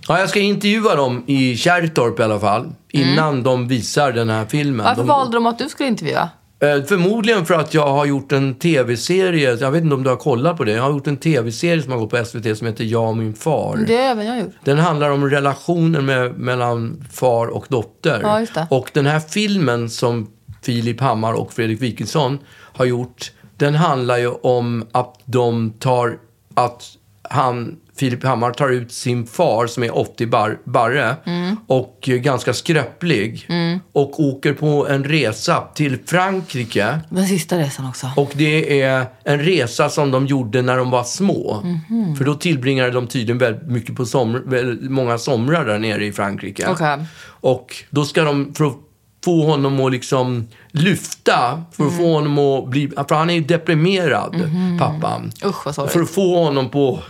Speaker 1: ja, jag ska intervjua dem i Kärrtorp i alla fall. Innan de visar den här filmen.
Speaker 2: Mm. Varför
Speaker 1: de,
Speaker 2: valde de att du skulle intervjua?
Speaker 1: Eh, Förmodligen för att jag har gjort en tv-serie. Jag vet inte om du har kollat på det. Jag har gjort en tv-serie som har gått på SVT som heter Jag och min far.
Speaker 2: Det har även jag gjort.
Speaker 1: Den handlar om relationen med, mellan far och dotter.
Speaker 2: Ja, just det.
Speaker 1: Och den här filmen som Filip Hammar och Fredrik Wikingsson har gjort, den handlar ju om att de tar, att han, Filip Hammar tar ut sin far som är 80 bar, barre
Speaker 2: Mm.
Speaker 1: och eh, ganska skröplig och åker på en resa till Frankrike.
Speaker 2: Den sista resan också.
Speaker 1: Och det är en resa som de gjorde när de var små. För då tillbringade de tydligen väldigt mycket på somr- väldigt många somrar där nere i Frankrike.
Speaker 2: Okej.
Speaker 1: Och då ska de, för att få honom att liksom lyfta, för att få honom att bli, för han är ju deprimerad, pappan.
Speaker 2: Usch vad
Speaker 1: För
Speaker 2: sorgligt.
Speaker 1: att få honom på,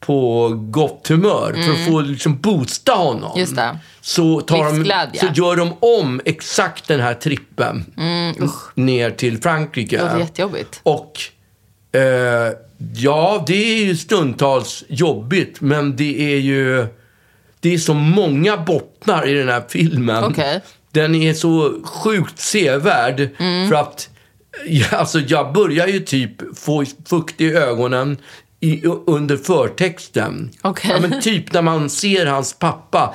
Speaker 1: på gott humör, för att få liksom boosta honom.
Speaker 2: Mm. Just det.
Speaker 1: Så, tar de,
Speaker 2: Livsglädje.
Speaker 1: så gör de om exakt den här trippen ner till Frankrike.
Speaker 2: Mm, Det låter jättejobbigt.
Speaker 1: Och eh, ja, det är ju stundtals jobbigt, men det är ju... Det är så många bottnar i den här filmen.
Speaker 2: Okej.
Speaker 1: Den är så sjukt sevärd
Speaker 2: Mm.
Speaker 1: för att ja, alltså, jag börjar ju typ få fukt i ögonen i, under förtexten.
Speaker 2: Okej.
Speaker 1: Ja, men typ när man ser hans pappa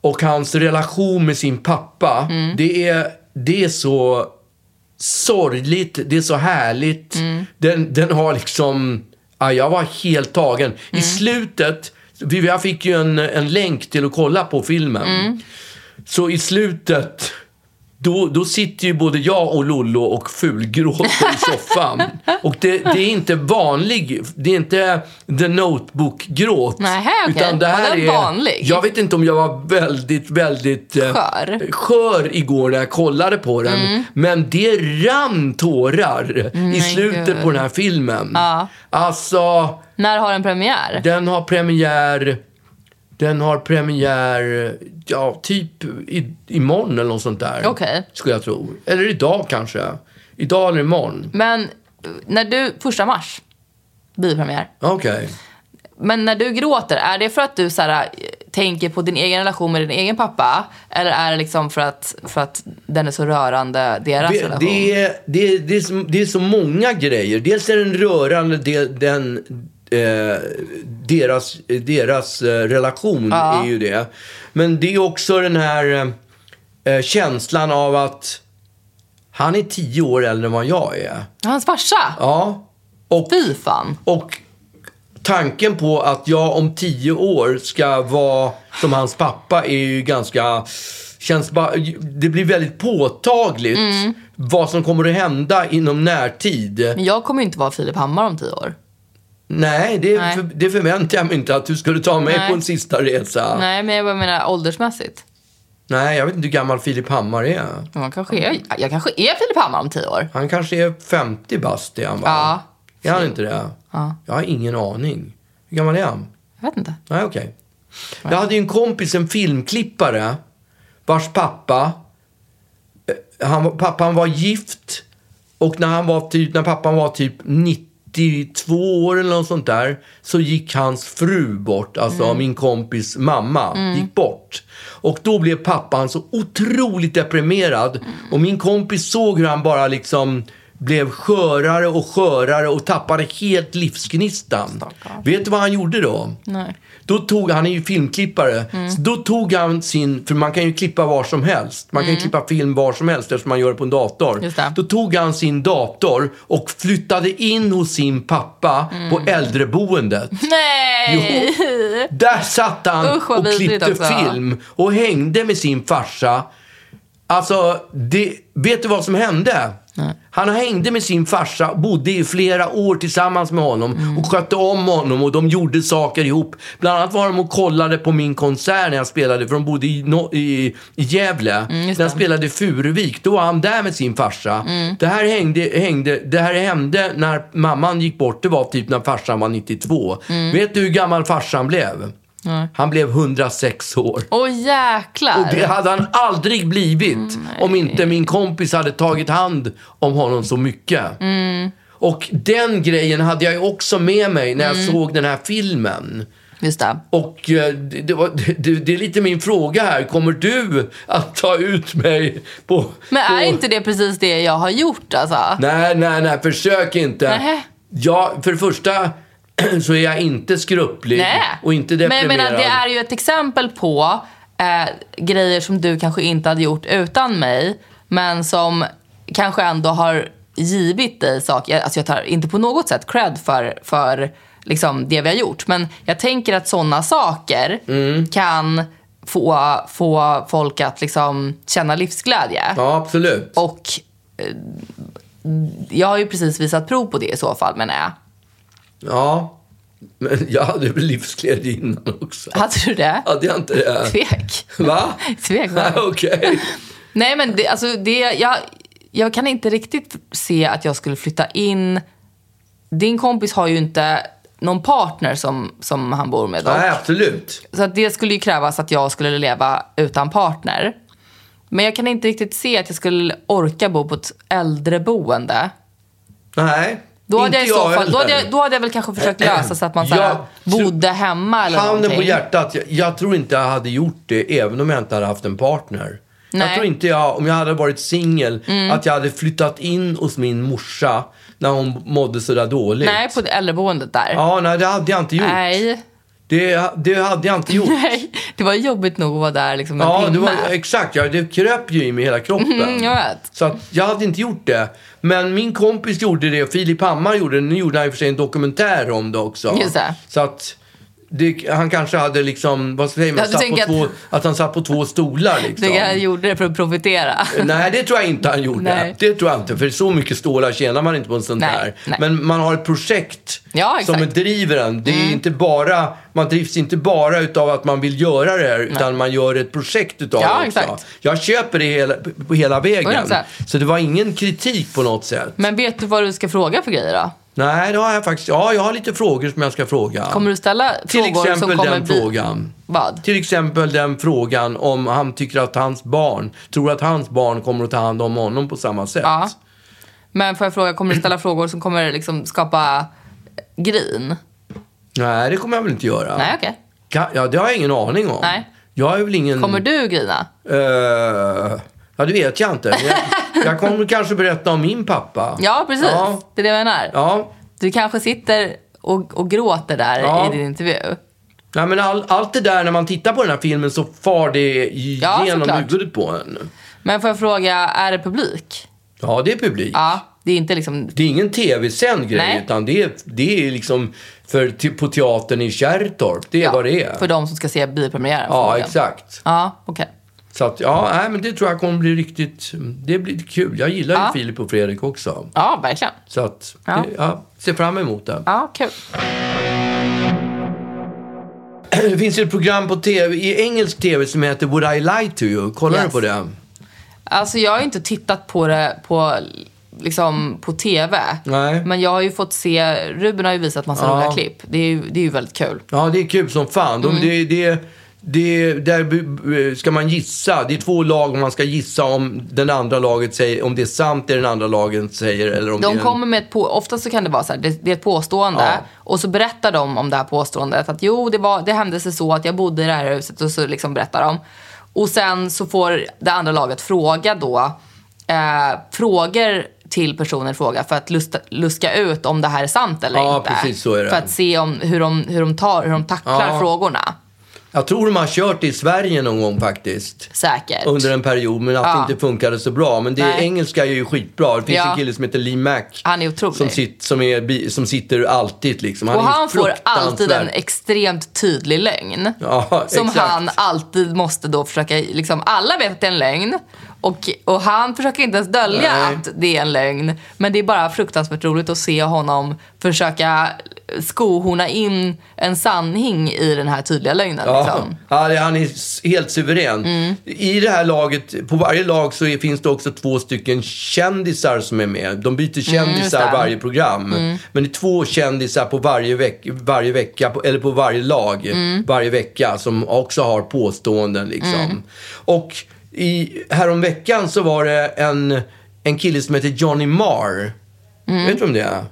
Speaker 1: och hans relation med sin pappa. Det, är, det är så sorgligt, det är så härligt. Den, den har liksom... Ja, jag var helt tagen. I slutet, vi- jag fick ju en, en länk till att kolla på filmen. Så i slutet, då, då sitter ju både jag och Lollo och fulgråter i soffan. Och det, det är inte vanlig, det är inte the notebook-gråt.
Speaker 2: Nähä, okej.
Speaker 1: Utan det
Speaker 2: Ja,
Speaker 1: här
Speaker 2: den
Speaker 1: är...
Speaker 2: vanlig.
Speaker 1: Jag vet inte om jag var väldigt, väldigt... eh,
Speaker 2: Skör. Mm.
Speaker 1: skör igår när jag kollade på den. Men det rann tårar i slutet
Speaker 2: Gud.
Speaker 1: på den här filmen.
Speaker 2: Ja.
Speaker 1: Alltså,
Speaker 2: När har den premiär?
Speaker 1: den har premiär... Den har premiär, ja, typ i, imorgon eller något sånt där.
Speaker 2: Okej.
Speaker 1: Skulle jag tro. Eller idag kanske. Idag eller imorgon.
Speaker 2: Men eh, när du, första mars, biopremiär.
Speaker 1: Okej.
Speaker 2: Men när du gråter, är det för att du så här, eh, tänker på din egen relation med din egen pappa? Eller är det liksom för att, för att den är så rörande, deras
Speaker 1: Det,
Speaker 2: relation?
Speaker 1: det, är, det, är, det, är så, det är så många grejer. Dels är den rörande, del, den, eh, deras, deras eh, relation är ju det. Men det är också den här eh, känslan av att han är tio år äldre än vad jag är.
Speaker 2: Hans farsa?
Speaker 1: Ja. Och
Speaker 2: Fy fan.
Speaker 1: Och tanken på att jag om tio år ska vara som hans pappa är ju ganska... Känns bara, det blir väldigt påtagligt
Speaker 2: Mm.
Speaker 1: vad som kommer att hända inom närtid.
Speaker 2: Men jag kommer ju inte vara Filip Hammar om tio år.
Speaker 1: Nej, det,
Speaker 2: Nej.
Speaker 1: För, det förväntar jag mig inte att du skulle ta med
Speaker 2: Nej.
Speaker 1: på en sista resa. Nej.
Speaker 2: Nej, men jag bara menar åldersmässigt.
Speaker 1: jag vet inte hur gammal Filip Hammar är.
Speaker 2: Men Man kanske är, jag kanske är Filip Hammar om tio år.
Speaker 1: Han kanske är 50 bast, är han va?
Speaker 2: Ja.
Speaker 1: Är han inte det?
Speaker 2: Ja.
Speaker 1: Jag har ingen aning. Hur gammal är han?
Speaker 2: Jag vet inte.
Speaker 1: Nej, okej. Jag hade ju en kompis, en filmklippare, vars pappa, eh, han, var- pappan var gift Och när, han var typ, när pappan var typ 92 år eller något sånt där så gick hans fru bort, alltså min kompis mamma gick bort. Och då blev pappan så otroligt deprimerad och min kompis såg hur han bara liksom blev skörare och skörare och tappade helt livsgnistan. Vet du vad han gjorde då?
Speaker 2: Nej.
Speaker 1: Då tog, han är ju filmklippare,
Speaker 2: Mm.
Speaker 1: så då tog han sin, för man kan ju klippa var som helst. Man kan ju klippa film var som helst eftersom man gör det på en dator.
Speaker 2: Mm. Just det.
Speaker 1: Då tog han sin dator och flyttade in hos sin pappa
Speaker 2: Mm.
Speaker 1: på äldreboendet.
Speaker 2: Nej!
Speaker 1: Jo, där satt han
Speaker 2: Usch, vad
Speaker 1: och
Speaker 2: vidrigt
Speaker 1: klippte
Speaker 2: också.
Speaker 1: film och hängde med sin farsa. Alltså, det, vet du vad som hände? Han hängde med sin farsa, bodde i flera år tillsammans med honom och skötte om honom och de gjorde saker ihop. Bland annat var de och kollade på min konsert när jag spelade, för de bodde i, no, i, i Gävle. när jag spelade i Furuvik, då var han där med sin farsa. Det, här hängde, hängde, det här hände när mamman gick bort, det var typ när farsan var 92. Vet du hur gammal farsan blev? Han blev 106 år.
Speaker 2: Åh jäklar!
Speaker 1: Och det hade han aldrig blivit
Speaker 2: Mm,
Speaker 1: om inte min kompis hade tagit hand om honom så mycket.
Speaker 2: Mm.
Speaker 1: Och den grejen hade jag ju också med mig när
Speaker 2: Mm.
Speaker 1: jag såg den här filmen.
Speaker 2: Just det.
Speaker 1: Och eh, det, det, var, det, det är lite min fråga här. Kommer du att ta ut mig på...
Speaker 2: Men är
Speaker 1: på...
Speaker 2: inte det precis det jag har gjort alltså?
Speaker 1: Nej, nej, nej. Försök inte.
Speaker 2: Nähä.
Speaker 1: Ja, för det första så är jag inte skrupplig och inte
Speaker 2: Men jag
Speaker 1: deprimerad.
Speaker 2: menar, det är ju ett exempel på eh, grejer som du kanske inte hade gjort utan mig. Men som kanske ändå har givit dig saker. Alltså jag tar inte på något sätt cred för, för liksom det vi har gjort. Men jag tänker att sådana saker
Speaker 1: Mm.
Speaker 2: kan få, få folk att liksom känna livsglädje.
Speaker 1: Ja, absolut.
Speaker 2: Och eh, jag har ju precis visat prov på det i så fall menar jag.
Speaker 1: Ja. Men jag hade väl livsglädje innan också.
Speaker 2: Hade du det?
Speaker 1: Hade jag inte det?
Speaker 2: Tvek.
Speaker 1: Va?
Speaker 2: Tveksam.
Speaker 1: Okej.
Speaker 2: Nej men det, alltså det, jag, jag kan inte riktigt se att jag skulle flytta in. Din kompis har ju inte någon partner som, som han bor med. dock.
Speaker 1: Nej, absolut.
Speaker 2: Så att det skulle ju krävas att jag skulle leva utan partner. Men jag kan inte riktigt se att jag skulle orka bo på ett äldreboende.
Speaker 1: Nej.
Speaker 2: Då hade,
Speaker 1: inte
Speaker 2: jag i så fall, då, hade jag,
Speaker 1: heller.
Speaker 2: då hade jag väl kanske försökt lösa så att man så
Speaker 1: Jag
Speaker 2: här,
Speaker 1: tror-
Speaker 2: bodde hemma eller
Speaker 1: Handen
Speaker 2: någonting.
Speaker 1: på hjärtat. Jag, jag tror inte jag hade gjort det även om jag inte hade haft en partner. Jag
Speaker 2: Nej. Mm.
Speaker 1: tror inte jag, om jag hade varit singel, att jag hade flyttat in hos min morsa när hon mådde sådär dåligt.
Speaker 2: Nej, på det äldreboendet där.
Speaker 1: Ja, nej, det hade jag inte gjort.
Speaker 2: Nej.
Speaker 1: Det, det hade jag inte gjort.
Speaker 2: Nej, det var jobbigt nog att vara där liksom en
Speaker 1: Ja,
Speaker 2: timme.
Speaker 1: det var, exakt. Ja, det kröp ju i mig hela kroppen.
Speaker 2: Mm, jag vet.
Speaker 1: Så att jag hade inte gjort det. Men min kompis gjorde det och Filip Hammar gjorde det. Nu gjorde han i och för sig en dokumentär om det också.
Speaker 2: Just det.
Speaker 1: Så att det, han kanske hade liksom, vad säger man,
Speaker 2: Ja, du
Speaker 1: satt på
Speaker 2: tänker att-
Speaker 1: två, att han satt på två stolar liksom.
Speaker 2: Du kanske gjorde det för att profitera.
Speaker 1: Nej, det tror jag inte han gjorde.
Speaker 2: Nej.
Speaker 1: Det tror jag inte, för så mycket stålar tjänar man inte på en sån
Speaker 2: Nej,
Speaker 1: där.
Speaker 2: nej.
Speaker 1: Men man har ett projekt
Speaker 2: Ja, exakt. Mm.
Speaker 1: som driver en. Det är inte bara, man drivs inte bara utav att man vill göra det här, utan man gör ett projekt utav
Speaker 2: Ja,
Speaker 1: det också.
Speaker 2: exakt.
Speaker 1: Jag köper det hela, på hela vägen.
Speaker 2: 100%.
Speaker 1: Så det var ingen kritik på något sätt.
Speaker 2: Men vet du vad du ska fråga för grejer då?
Speaker 1: Nej, det har jag faktiskt. Ja, jag har lite frågor som jag ska fråga.
Speaker 2: Kommer du ställa
Speaker 1: Till
Speaker 2: frågor
Speaker 1: exempel
Speaker 2: som kommer
Speaker 1: den
Speaker 2: bli...
Speaker 1: frågan.
Speaker 2: Vad?
Speaker 1: Till exempel den frågan om han tycker att hans barn, tror att hans barn kommer att ta hand om honom på samma sätt.
Speaker 2: Ja. Men får jag fråga, kommer du ställa frågor som kommer liksom skapa grin?
Speaker 1: Nej, det kommer jag väl inte göra.
Speaker 2: Nej, okej.
Speaker 1: Kan, ja, det har jag ingen aning om.
Speaker 2: Nej.
Speaker 1: Jag är väl ingen...
Speaker 2: Kommer du grina?
Speaker 1: Eh, ja, det vet jag inte. Jag, jag kommer kanske berätta om min pappa.
Speaker 2: Ja, precis.
Speaker 1: Ja.
Speaker 2: Det är det jag menar.
Speaker 1: ja.
Speaker 2: Du kanske sitter och, och gråter där
Speaker 1: Ja.
Speaker 2: i din intervju.
Speaker 1: Nej, men all, allt det där, när man tittar på den här filmen så far det
Speaker 2: Ja,
Speaker 1: igenom
Speaker 2: såklart.
Speaker 1: huvudet på en.
Speaker 2: Men får jag fråga, är det publik?
Speaker 1: Ja, det är publik.
Speaker 2: Ja, det är inte liksom...
Speaker 1: Det är ingen tv-sänd grej,
Speaker 2: Nej.
Speaker 1: utan det är, det är liksom för, ty- på teatern i Kärrtorp. Det är
Speaker 2: Ja,
Speaker 1: vad det är.
Speaker 2: För de som ska se biopremiären.
Speaker 1: ja,
Speaker 2: förmodligen.
Speaker 1: exakt.
Speaker 2: Ja, okej.
Speaker 1: Så att, ja, nej, men det tror jag kommer bli riktigt... Det blir kul. Jag gillar
Speaker 2: Ja.
Speaker 1: ju Filip och Fredrik också.
Speaker 2: Ja, verkligen.
Speaker 1: Så att,
Speaker 2: Ja.
Speaker 1: det, ja, ser fram emot det.
Speaker 2: Ja, kul.
Speaker 1: Det finns ju ett program på TV, i engelsk TV som heter Would I Lie To You. Kollar
Speaker 2: Yes.
Speaker 1: du på det?
Speaker 2: Alltså jag har ju inte tittat på det på, liksom, på TV.
Speaker 1: Nej.
Speaker 2: Men jag har ju fått se, Ruben har ju visat massa
Speaker 1: Ja.
Speaker 2: roliga klipp. Det är, ju, det är ju väldigt kul. Mm.
Speaker 1: Ja, det är kul som fan. De, det, det, det, där b- ska man gissa. Det är två lag och man ska gissa om den andra laget säger, om det är sant det den andra laget säger eller om det är
Speaker 2: De
Speaker 1: en-
Speaker 2: kommer med ett på, oftast så kan det vara så här, det, det är ett påstående
Speaker 1: Ja.
Speaker 2: och så berättar de om det här påståendet att jo det, var, det hände sig så att jag bodde i det här huset och så liksom berättar de. Och sen så får det andra laget fråga då eh, frågor till personen i fråga för att lusta, luska ut om det här är sant eller
Speaker 1: Ja,
Speaker 2: inte.
Speaker 1: precis så är det.
Speaker 2: För att se om, hur, de, hur, de tar, hur de tacklar
Speaker 1: Ja.
Speaker 2: frågorna.
Speaker 1: Jag tror de har kört i Sverige någon gång faktiskt.
Speaker 2: Säkert.
Speaker 1: Under en period, men att
Speaker 2: Ja.
Speaker 1: det inte funkade så bra. Men det,
Speaker 2: Nej.
Speaker 1: engelska är ju skitbra. Det finns
Speaker 2: Ja.
Speaker 1: en kille som heter Lee Mack.
Speaker 2: Han är otrolig.
Speaker 1: Som, sit, som, är, bi- som sitter alltid liksom. Han
Speaker 2: och
Speaker 1: är ju
Speaker 2: han får alltid en
Speaker 1: fruktansvärd.
Speaker 2: extremt tydlig lögn.
Speaker 1: Ja,
Speaker 2: som
Speaker 1: exakt.
Speaker 2: han alltid måste då försöka, liksom alla vet att det är en lögn. Och, och han försöker inte ens dölja
Speaker 1: Nej.
Speaker 2: att det är en lögn. Men det är bara fruktansvärt roligt att se honom försöka skohorna in en sanning i den här tydliga lögnen.
Speaker 1: Ja,
Speaker 2: Liksom. Mm.
Speaker 1: ja, det- han är s- helt suverän. I det här laget, på varje lag så är, finns det också två stycken kändisar som är med. De byter kändisar
Speaker 2: Mm, just det. Mm.
Speaker 1: varje program. Men det är två kändisar på varje, veck, varje vecka, på, eller på varje lag
Speaker 2: Mm.
Speaker 1: varje vecka som också har påståenden liksom. Och i, häromveckan så var det en, en kille som heter Johnny Marr.
Speaker 2: Mm.
Speaker 1: Vet du vem det är?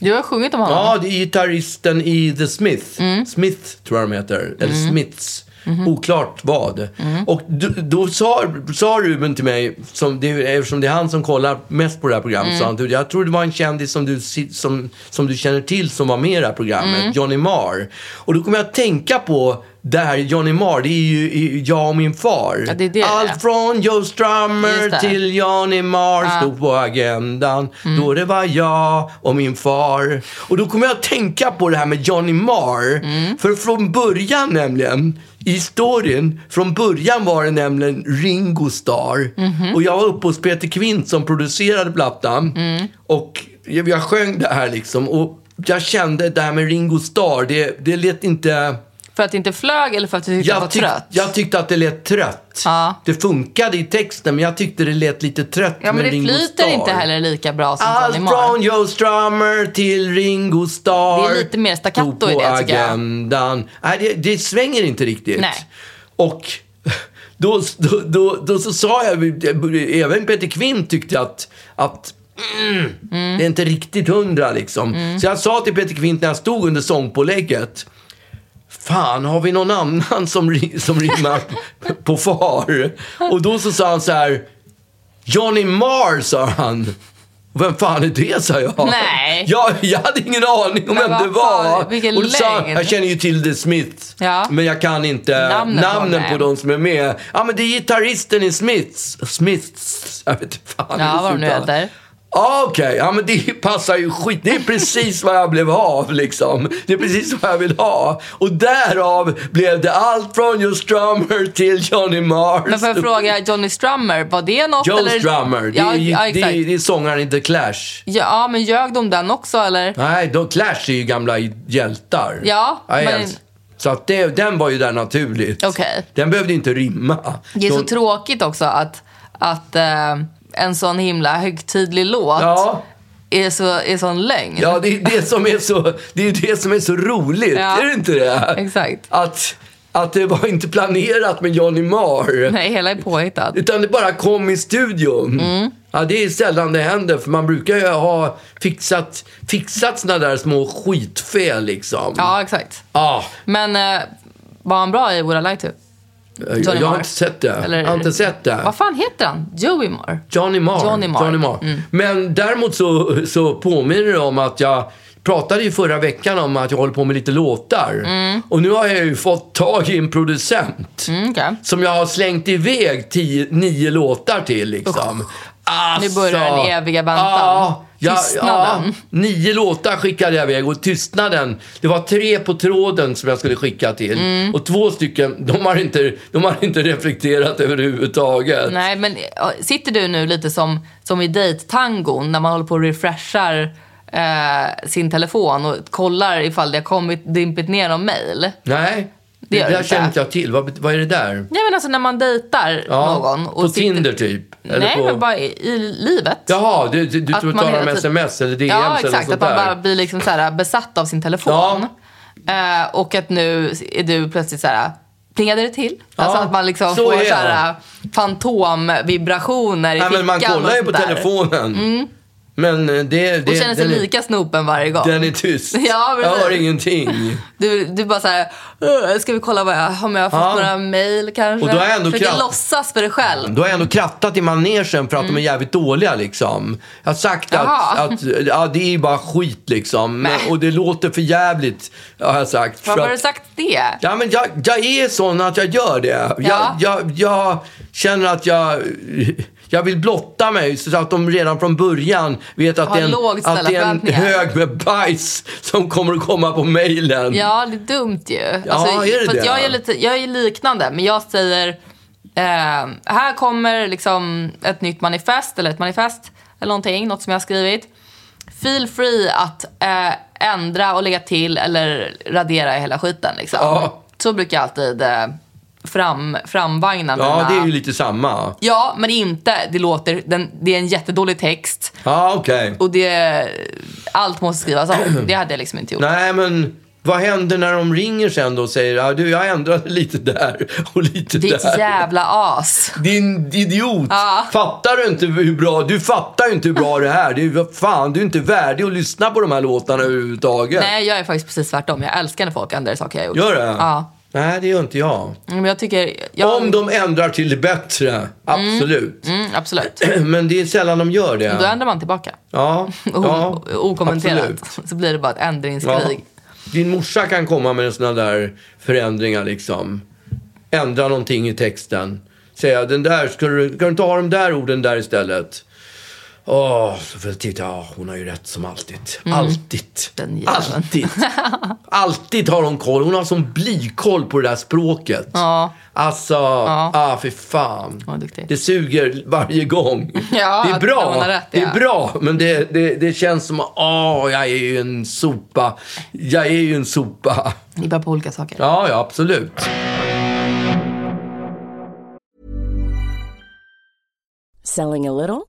Speaker 2: Du har sjungit om honom.
Speaker 1: Ja, det är gitarristen i The Smith.
Speaker 2: Mm.
Speaker 1: Smith tror jag de heter. Eller Smiths.
Speaker 2: Mm-hmm.
Speaker 1: Oklart vad.
Speaker 2: Mm.
Speaker 1: Och då, då sa, sa Ruben till mig, som det, eftersom det är han som kollar mest på det här programmet,
Speaker 2: Mm.
Speaker 1: sa han "Du, jag tror det var en kändis som du, si- som, som du känner till som var med i det här programmet,
Speaker 2: Mm.
Speaker 1: Johnny Marr. Och då kom jag att tänka på det här Johnny Marr, det är ju i- jag och min far.
Speaker 2: Ja, det är det
Speaker 1: Allt
Speaker 2: det är.
Speaker 1: från Joe
Speaker 2: Just det.
Speaker 1: Strummer till Johnny Marr stod på agendan. Då det var jag och min far. Och då kommer jag att tänka på det här med Johnny Marr.
Speaker 2: Mm.
Speaker 1: För från början nämligen, i storyn, från början var det nämligen Ringo Starr.
Speaker 2: Mhm.
Speaker 1: Och jag var uppe hos Peter Kvint som producerade plattan.
Speaker 2: Mm.
Speaker 1: Och jag jag sjöng det här liksom. Och jag kände det här med Ringo Starr, det, det lät inte...
Speaker 2: För att det inte flög eller för att du tyckte att var
Speaker 1: Jag, tyck,
Speaker 2: trött?
Speaker 1: jag tyckte att det lät trött.
Speaker 2: Ja.
Speaker 1: Det funkade i texten, men jag tyckte det lät lite trött
Speaker 2: ja, men
Speaker 1: med
Speaker 2: det
Speaker 1: Ringo
Speaker 2: flyter
Speaker 1: Starr.
Speaker 2: inte heller lika bra som
Speaker 1: Allt
Speaker 2: Johnny Marr.
Speaker 1: från Joe Strummer till Ringo Starr.
Speaker 2: Det är lite mer staccato
Speaker 1: Stod på
Speaker 2: i det, tycker jag.
Speaker 1: agendan. Nej, det, det svänger inte riktigt.
Speaker 2: Nej.
Speaker 1: Och då, då, då, då så sa jag, även Peter Kvint tyckte att, att mm, det är inte riktigt hundra liksom.
Speaker 2: Mm.
Speaker 1: Så jag sa till Peter Kvint när jag stod under sångpålägget. Fan, har vi någon annan som, ri- som rimmar på far? Och då så sa han så här. Johnny Marr, sa han. Vem fan är det, sa jag.
Speaker 2: Nej.
Speaker 1: Jag, jag hade ingen aning om vem
Speaker 2: Men
Speaker 1: det
Speaker 2: vad fan,
Speaker 1: var.
Speaker 2: vilken
Speaker 1: och då sa han,
Speaker 2: lögn.
Speaker 1: jag känner ju till The Smiths,
Speaker 2: Ja.
Speaker 1: men jag kan inte
Speaker 2: Namnen
Speaker 1: namnen,
Speaker 2: på dem.
Speaker 1: på de som är med. Ja, men det är gitarristen i Smiths. Smiths, jag vet inte fan.
Speaker 2: Ja,
Speaker 1: hur det
Speaker 2: vad de nu
Speaker 1: uttalas.
Speaker 2: heter.
Speaker 1: Ja, Ah, Okej, ja men det passar ju skit. Det är precis vad jag blev av liksom. Det är precis vad jag vill ha. Och därav blev det allt från Joe Strummer till Johnny Mars.
Speaker 2: Men får jag fråga, Johnny Strummer, var det något?
Speaker 1: Joe
Speaker 2: eller?
Speaker 1: Strummer, det,
Speaker 2: ja,
Speaker 1: är,
Speaker 2: ja,
Speaker 1: det,
Speaker 2: exakt.
Speaker 1: är, det är sångaren i The Clash.
Speaker 2: Ja, men ljög de den också eller?
Speaker 1: Nej, de Clash är ju gamla hjältar.
Speaker 2: Ja,
Speaker 1: Nej,
Speaker 2: men-
Speaker 1: ens. Så att det, den var ju där naturligt.
Speaker 2: Okej.
Speaker 1: Den behövde inte rimma.
Speaker 2: Det är så
Speaker 1: De-
Speaker 2: tråkigt också att, att eh, en sån himla högtidlig låt
Speaker 1: Ja.
Speaker 2: är, så, är sån lögn.
Speaker 1: Ja, det är det som är så, det är det som är så roligt.
Speaker 2: Ja.
Speaker 1: Är det inte det?
Speaker 2: Exakt.
Speaker 1: Att, att det var inte planerat med Johnny Marr.
Speaker 2: Nej, hela är påhittad.
Speaker 1: Utan det bara kom i studion.
Speaker 2: Mm.
Speaker 1: Ja, det är sällan det händer, för man brukar ju ha fixat, fixat såna där små skitfel liksom.
Speaker 2: Ja, exakt.
Speaker 1: Ja,
Speaker 2: Men eh, var han bra i Would I Lie To?
Speaker 1: jag, jag har
Speaker 2: Marr.
Speaker 1: inte sett det.
Speaker 2: Eller-
Speaker 1: Jag har inte sett det.
Speaker 2: Vad fan heter han? Joey Moore?
Speaker 1: Johnny Marr.
Speaker 2: Johnny Marr. Mm.
Speaker 1: Men däremot så, så påminner det om att jag pratade ju förra veckan om att jag håller på med lite låtar. Och nu har jag ju fått tag i en producent.
Speaker 2: Mm, okej.
Speaker 1: Som jag har slängt iväg tio, nio låtar till liksom. Alltså,
Speaker 2: Nu börjar den eviga väntan.
Speaker 1: Ja, ja,
Speaker 2: Tystnaden.
Speaker 1: Ja, nio låtar skickade jag iväg och tystnaden. Det var tre på tråden som jag skulle skicka till.
Speaker 2: Mm.
Speaker 1: Och två stycken, de har inte, de har inte reflekterat överhuvudtaget.
Speaker 2: Nej, men eh, sitter du nu lite som, som i dejttangon när man håller på och refreshar eh, sin telefon och kollar ifall det har kommit, dimpit ner någon mail?
Speaker 1: Nej,
Speaker 2: Det
Speaker 1: det,
Speaker 2: gör
Speaker 1: där
Speaker 2: det inte.
Speaker 1: känner inte jag till. Vad, bet- vad är det där?
Speaker 2: Nej men alltså när man dejtar någon.
Speaker 1: på Tinder typ? Eller
Speaker 2: Nej
Speaker 1: på...
Speaker 2: men bara i, i livet.
Speaker 1: Jaha, du, du, du
Speaker 2: Att
Speaker 1: tror
Speaker 2: man
Speaker 1: talar
Speaker 2: hela
Speaker 1: om
Speaker 2: tiden-
Speaker 1: sms eller DMs
Speaker 2: ja
Speaker 1: eller något
Speaker 2: exakt,
Speaker 1: sånt
Speaker 2: att man
Speaker 1: där?
Speaker 2: bara blir liksom så här besatt av sin telefon.
Speaker 1: Ja.
Speaker 2: Eh, och att nu är du plötsligt så här... Plingade det till? alltså att man liksom
Speaker 1: så
Speaker 2: får
Speaker 1: är jag.
Speaker 2: så här eh, fantomvibrationer i
Speaker 1: Nej, men man
Speaker 2: fickan och
Speaker 1: kollar ju på
Speaker 2: sånt där. Mm.
Speaker 1: telefonen. Men eh, det... det
Speaker 2: Och känner sig
Speaker 1: den är-
Speaker 2: lika snopen varje gång.
Speaker 1: Den är tyst.
Speaker 2: Ja,
Speaker 1: jag
Speaker 2: precis.
Speaker 1: hör ingenting.
Speaker 2: Du, du bara så här, "Åh, ska vi kolla vad jag, om jag har fått
Speaker 1: Ja.
Speaker 2: några mejl kanske?
Speaker 1: Och då har jag ändå
Speaker 2: Försöker
Speaker 1: kraft.
Speaker 2: låtsas för dig själv.
Speaker 1: Då har jag ändå krattat i manegen för att de är jävligt dåliga liksom. Jag har sagt att,
Speaker 2: Mm. Jaha.
Speaker 1: att ja, det är ju bara skit liksom. Men,
Speaker 2: Nej.
Speaker 1: och det låter för jävligt har jag sagt.
Speaker 2: Varför
Speaker 1: för
Speaker 2: har du
Speaker 1: att-
Speaker 2: sagt det?
Speaker 1: Ja, men jag, jag är sån att jag gör det. Jag,
Speaker 2: Ja.
Speaker 1: jag, jag känner att jag, jag vill blotta mig så att de redan från början vet att
Speaker 2: Har
Speaker 1: det är en,
Speaker 2: lågt ställda
Speaker 1: att det är en
Speaker 2: förväntningar.
Speaker 1: hög med bajs som kommer att komma på mejlen.
Speaker 2: Ja, det är dumt ju. Alltså,
Speaker 1: är det
Speaker 2: för att
Speaker 1: det?
Speaker 2: Jag är, lite, jag är liknande, men jag säger eh, här kommer liksom ett nytt manifest eller ett manifest eller någonting, något som jag har skrivit. Feel free att eh, ändra och lägga till eller radera hela skiten. Liksom.
Speaker 1: Ja.
Speaker 2: Så brukar jag alltid eh, fram, framvagna
Speaker 1: Ja,
Speaker 2: mina-
Speaker 1: det är ju lite samma.
Speaker 2: Ja, men inte. Det, låter, den, det är en jättedålig text
Speaker 1: Ja, okej.
Speaker 2: och det, allt måste skrivas om. Det hade jag liksom inte gjort.
Speaker 1: Nej, men vad händer när de ringer sen då och säger ah, du, jag ändrade lite där och lite
Speaker 2: Ditt
Speaker 1: där.
Speaker 2: jävla as.
Speaker 1: Din idiot!
Speaker 2: Ja.
Speaker 1: Fattar du inte hur bra, du fattar ju inte hur bra det här det är. Vad Fan, du är inte värdig att lyssna på de här låtarna överhuvudtaget.
Speaker 2: Nej, jag är faktiskt precis tvärtom. Jag älskar när folk ändrar saker jag gjort.
Speaker 1: Gör det?
Speaker 2: Ja.
Speaker 1: Nej, det gör inte jag.
Speaker 2: Men jag tycker... Jag...
Speaker 1: Om de ändrar till det bättre, absolut.
Speaker 2: Mm, absolut.
Speaker 1: Men det är sällan de gör det.
Speaker 2: Då ändrar man tillbaka.
Speaker 1: Ja,
Speaker 2: O-
Speaker 1: ja
Speaker 2: okommenterat.
Speaker 1: absolut.
Speaker 2: Så blir det bara ett ändringskrig.
Speaker 1: Din morsa kan komma med såna där förändringar liksom. Ändra någonting i texten. Säga, den där, ska du, kan du inte ha de där orden där istället? Åh, så får jag titta, ja, hon har ju rätt som alltid. Alltid.
Speaker 2: Mm. Den jäveln.
Speaker 1: alltid. alltid har hon koll. Hon har sån blikoll på det där språket.
Speaker 2: Ja.
Speaker 1: Alltså, ah, fy fan.
Speaker 2: Vad duktig.
Speaker 1: det suger varje gång.
Speaker 2: Ja,
Speaker 1: det är
Speaker 2: att
Speaker 1: bra.
Speaker 2: hon har rätt,
Speaker 1: det är
Speaker 2: ja.
Speaker 1: bra bra, men det, det, det känns som att åh, jag är ju en sopa. Jag är ju en sopa.
Speaker 2: Ni bär på olika saker.
Speaker 1: Ja, ja, absolut.
Speaker 3: Selling a little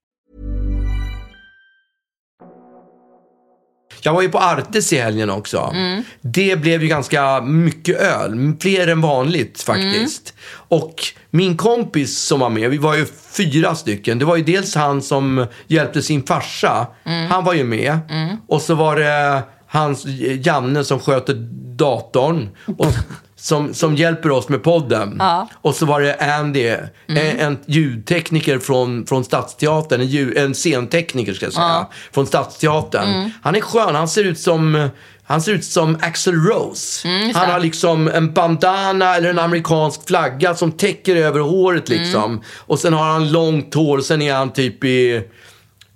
Speaker 1: Jag var ju på Artes i helgen också.
Speaker 2: Mm.
Speaker 1: Det blev ju ganska mycket öl. Fler än vanligt faktiskt.
Speaker 2: Mm.
Speaker 1: Och min kompis som var med, vi var ju fyra stycken. Det var ju dels han som hjälpte sin farsa.
Speaker 2: Mm.
Speaker 1: Han var ju med. Och så var det hans Janne som sköter datorn. Och som, som hjälper oss med podden. Och så var det Andy,
Speaker 2: Mm.
Speaker 1: en, en ljudtekniker från, från Stadsteatern, en, ljud, en scentekniker ska jag säga, från Stadsteatern.
Speaker 2: Mm.
Speaker 1: Han är skön, han ser ut som han ser ut som Axl Rose.
Speaker 2: Mm,
Speaker 1: han har liksom en bandana eller en amerikansk flagga som täcker över håret
Speaker 2: Mm.
Speaker 1: liksom. Och sen har han långt hår och sen är han typ i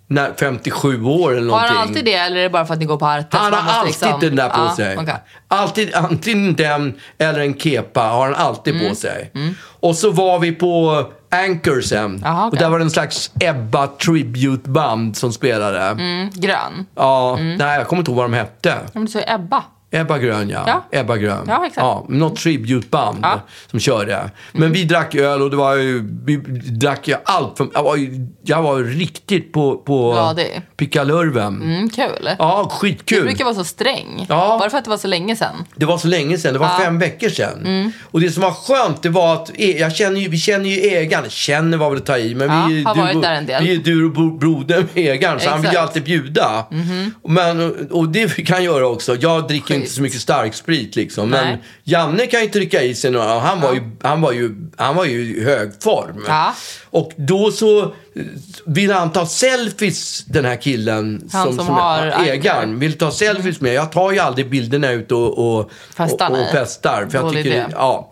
Speaker 1: när, 57 år eller någonting.
Speaker 2: Har han alltid det eller är det bara för att ni går på Artes?
Speaker 1: Han
Speaker 2: Man
Speaker 1: har
Speaker 2: måste
Speaker 1: alltid
Speaker 2: liksom-
Speaker 1: den där på
Speaker 2: Ja,
Speaker 1: sig.
Speaker 2: okej.
Speaker 1: Alltid, antingen den eller en kepa har han alltid på
Speaker 2: Mm.
Speaker 1: sig. Och så var vi på Anchor sen.
Speaker 2: Jaha,
Speaker 1: Och
Speaker 2: okej.
Speaker 1: där var det en slags Ebba tributeband som spelade.
Speaker 2: Mm, grön.
Speaker 1: Ja, nej jag kommer inte ihåg vad de hette.
Speaker 2: Ja, men du sa ju Ebba.
Speaker 1: Ebba Grön, ja.
Speaker 2: Ja.
Speaker 1: Ebba Grön.
Speaker 2: Ja, exakt.
Speaker 1: något tributband
Speaker 2: Ja. Mm.
Speaker 1: som körde. Men vi drack öl och det var ju, vi drack ju allt. Från, jag, var, ju- jag var riktigt på, på
Speaker 2: Ja, det-
Speaker 1: pickalurven.
Speaker 2: Mm, kul.
Speaker 1: Ja,
Speaker 2: Du
Speaker 1: skitkul.
Speaker 2: brukar vara så sträng.
Speaker 1: Ja.
Speaker 2: Bara för att det var så länge sedan.
Speaker 1: Det var så länge sedan, det var fem veckor sedan.
Speaker 2: Mm.
Speaker 1: Och det som var skönt, det var att e- jag känner ju, vi känner ju ägaren. Känner var väl att ta i, men
Speaker 2: Ja,
Speaker 1: vi,
Speaker 2: har
Speaker 1: du,
Speaker 2: varit där en del.
Speaker 1: vi är du och bro- broder med ägaren, så han vill ju
Speaker 2: Exakt. Mhm.
Speaker 1: alltid bjuda. Men, och det vi kan göra också. Jag dricker inte så mycket starksprit liksom, men
Speaker 2: Nej.
Speaker 1: Janne kan ju trycka i sig några och han var ju, han var ju, han var ju i hög form.
Speaker 2: Ja.
Speaker 1: Och då så eh, vill han ta selfies, den här killen
Speaker 2: Han som har
Speaker 1: ja, ägaren
Speaker 2: Anchor.
Speaker 1: vill ta selfies med. Jag tar ju aldrig bilderna ut och, och,
Speaker 2: Festar,
Speaker 1: och, och
Speaker 2: nej.
Speaker 1: festar. För jag
Speaker 2: Dålig
Speaker 1: tycker,
Speaker 2: idé.
Speaker 1: ja.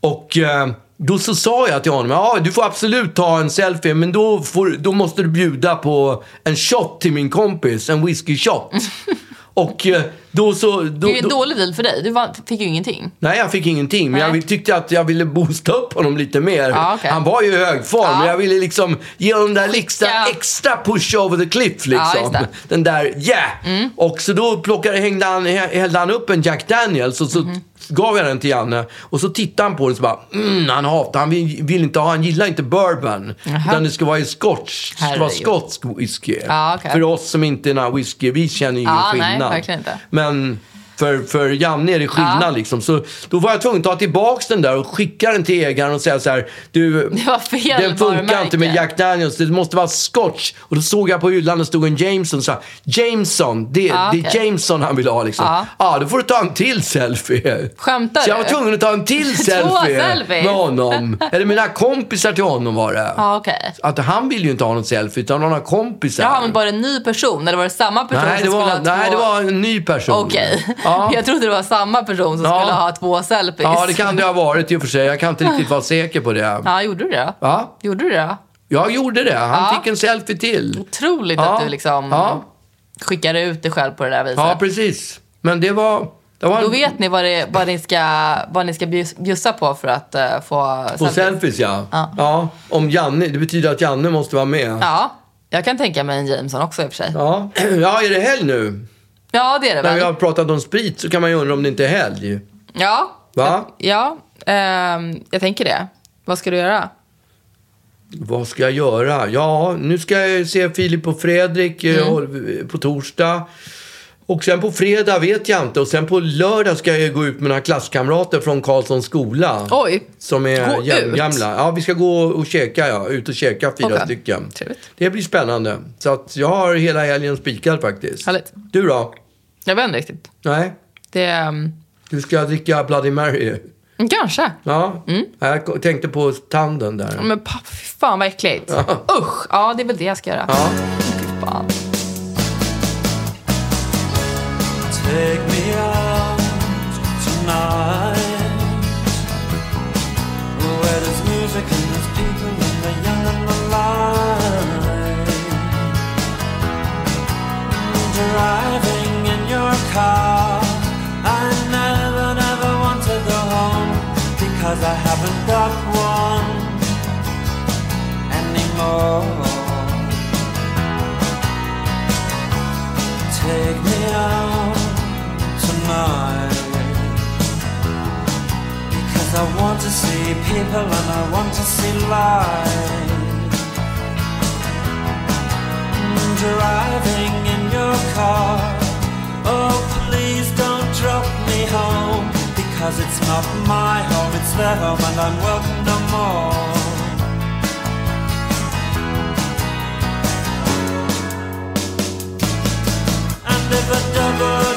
Speaker 1: Och eh, då så sa jag till honom, ja du får absolut ta en selfie men då, får, då måste du bjuda på en shot till min kompis, en whisky shot. och eh, då så... Då,
Speaker 2: Det är ju en
Speaker 1: då,
Speaker 2: dålig deal för dig. Du var, fick ju ingenting.
Speaker 1: Nej, jag fick ingenting. Men
Speaker 2: Nej.
Speaker 1: jag vill- tyckte att jag ville boosta upp honom lite mer.
Speaker 2: Ja, okej.
Speaker 1: Han var ju i hög form.
Speaker 2: Ja.
Speaker 1: Men jag ville liksom ge honom den där extra,
Speaker 2: Skicka.
Speaker 1: extra push over the cliff. Liksom.
Speaker 2: just det. Mm.
Speaker 1: den där yeah! Och så då plockade, hängde han, hä- hällde han upp en Jack Daniels och så
Speaker 2: Mhm.
Speaker 1: gav jag den till Janne. Och så tittade han på den och så bara, mm, han hatar, han vill, vill inte ha, han gillar inte bourbon. Utan det ska vara i scotch. Det ska vara
Speaker 2: Herregud.
Speaker 1: skotsk whisky.
Speaker 2: Ja, okej.
Speaker 1: För oss som inte är några whisky, vi känner ingen
Speaker 2: Ja, nej,
Speaker 1: skillnad.
Speaker 2: verkligen inte.
Speaker 1: Men för, för Janne är det skillnad
Speaker 2: Ja.
Speaker 1: liksom. Så då var jag tvungen att ta tillbaks den där och skicka den till ägaren och säga så här. Du,
Speaker 2: Det var fel
Speaker 1: den funkar
Speaker 2: varumärke."
Speaker 1: inte med Jack Daniels. Det måste vara scotch. Och då såg jag på hyllan, det stod en Jameson. Så här, Jameson, det,
Speaker 2: Ja,
Speaker 1: det
Speaker 2: okej.
Speaker 1: är Jameson han vill ha liksom. Ja,
Speaker 2: Ja.
Speaker 1: då får du ta en till selfie.
Speaker 2: Skämtar
Speaker 1: Så jag var
Speaker 2: du?
Speaker 1: tvungen att ta en till
Speaker 2: Två
Speaker 1: selfie,
Speaker 2: selfies.
Speaker 1: med honom. Eller mina kompisar till honom var det.
Speaker 2: Ja, okej.
Speaker 1: Att han ville ju inte ha någon selfie utan han har kompisar.
Speaker 2: Jaha, men var det en ny person? Eller var det samma person
Speaker 1: nej, det
Speaker 2: som
Speaker 1: var,
Speaker 2: skulle ha två...
Speaker 1: nej, det var en ny person.
Speaker 2: Okej.
Speaker 1: Ja.
Speaker 2: Jag trodde det var samma person som
Speaker 1: Ja.
Speaker 2: skulle ha två selfies.
Speaker 1: Ja, det kan det ha varit i och för sig. Jag kan inte riktigt vara säker på det.
Speaker 2: Ja, gjorde du det?
Speaker 1: Ja,
Speaker 2: Gjorde du det?
Speaker 1: jag gjorde det. Han
Speaker 2: Ja. Mm.
Speaker 1: fick en selfie till.
Speaker 2: Otroligt
Speaker 1: Ja.
Speaker 2: att du liksom
Speaker 1: Ja.
Speaker 2: skickar ut dig själv på det där viset.
Speaker 1: Ja, precis. Men det var... Det var
Speaker 2: Då vet ni vad, det, vad ni ska, vad ni ska bjus- bjussa på för att eh, få
Speaker 1: på selfies, ja. ja. Om Janne, det betyder att Janne måste vara med. Ja.
Speaker 2: Ja, jag kan tänka mig en Jameson också i och för sig. Ja,
Speaker 1: Ja, är det helg nu?
Speaker 2: det är det
Speaker 1: När
Speaker 2: väl.
Speaker 1: vi har pratat om sprit så kan man ju undra om det inte är helg.
Speaker 2: Ja,
Speaker 1: Va?
Speaker 2: ja ehm, jag tänker det. Vad ska du göra?
Speaker 1: Vad ska jag göra? Ja, nu ska jag se Filip och Fredrik eh,
Speaker 2: Mm.
Speaker 1: och- på torsdag. Och sen på fredag vet jag inte. Och sen på lördag ska jag gå ut med några klasskamrater från Karlssons skola.
Speaker 2: Oj.
Speaker 1: Som
Speaker 2: Gå
Speaker 1: är
Speaker 2: ut?
Speaker 1: jämngamla. Ja, vi ska gå och käka, ja. Ut och käka fyra
Speaker 2: Okej.
Speaker 1: stycken.
Speaker 2: Trevligt.
Speaker 1: Det blir spännande. Så att jag har hela helgen spikad faktiskt.
Speaker 2: Härligt.
Speaker 1: Du då?
Speaker 2: Jag vet inte riktigt.
Speaker 1: Nej?
Speaker 2: Det, ehm,
Speaker 1: Du ska dricka Bloody Mary?
Speaker 2: kanske.
Speaker 1: Ja.
Speaker 2: Mm.
Speaker 1: ja. Jag tänkte på tanden där.
Speaker 2: Men pappa, fy fan vad äckligt. Usch, ja det är väl det jag ska göra.
Speaker 1: Ja.
Speaker 2: Fy fan.
Speaker 7: Take me out tonight. Where there's music and there's people and they're young and alive. Driving in your car. I never, never want to go home because I haven't got one anymore. Take me out tonight Because I want to see people and I want to see life Mm, Driving in your car Oh please don't drop me home Because it's not my home, it's their home and I'm welcome no more And if a double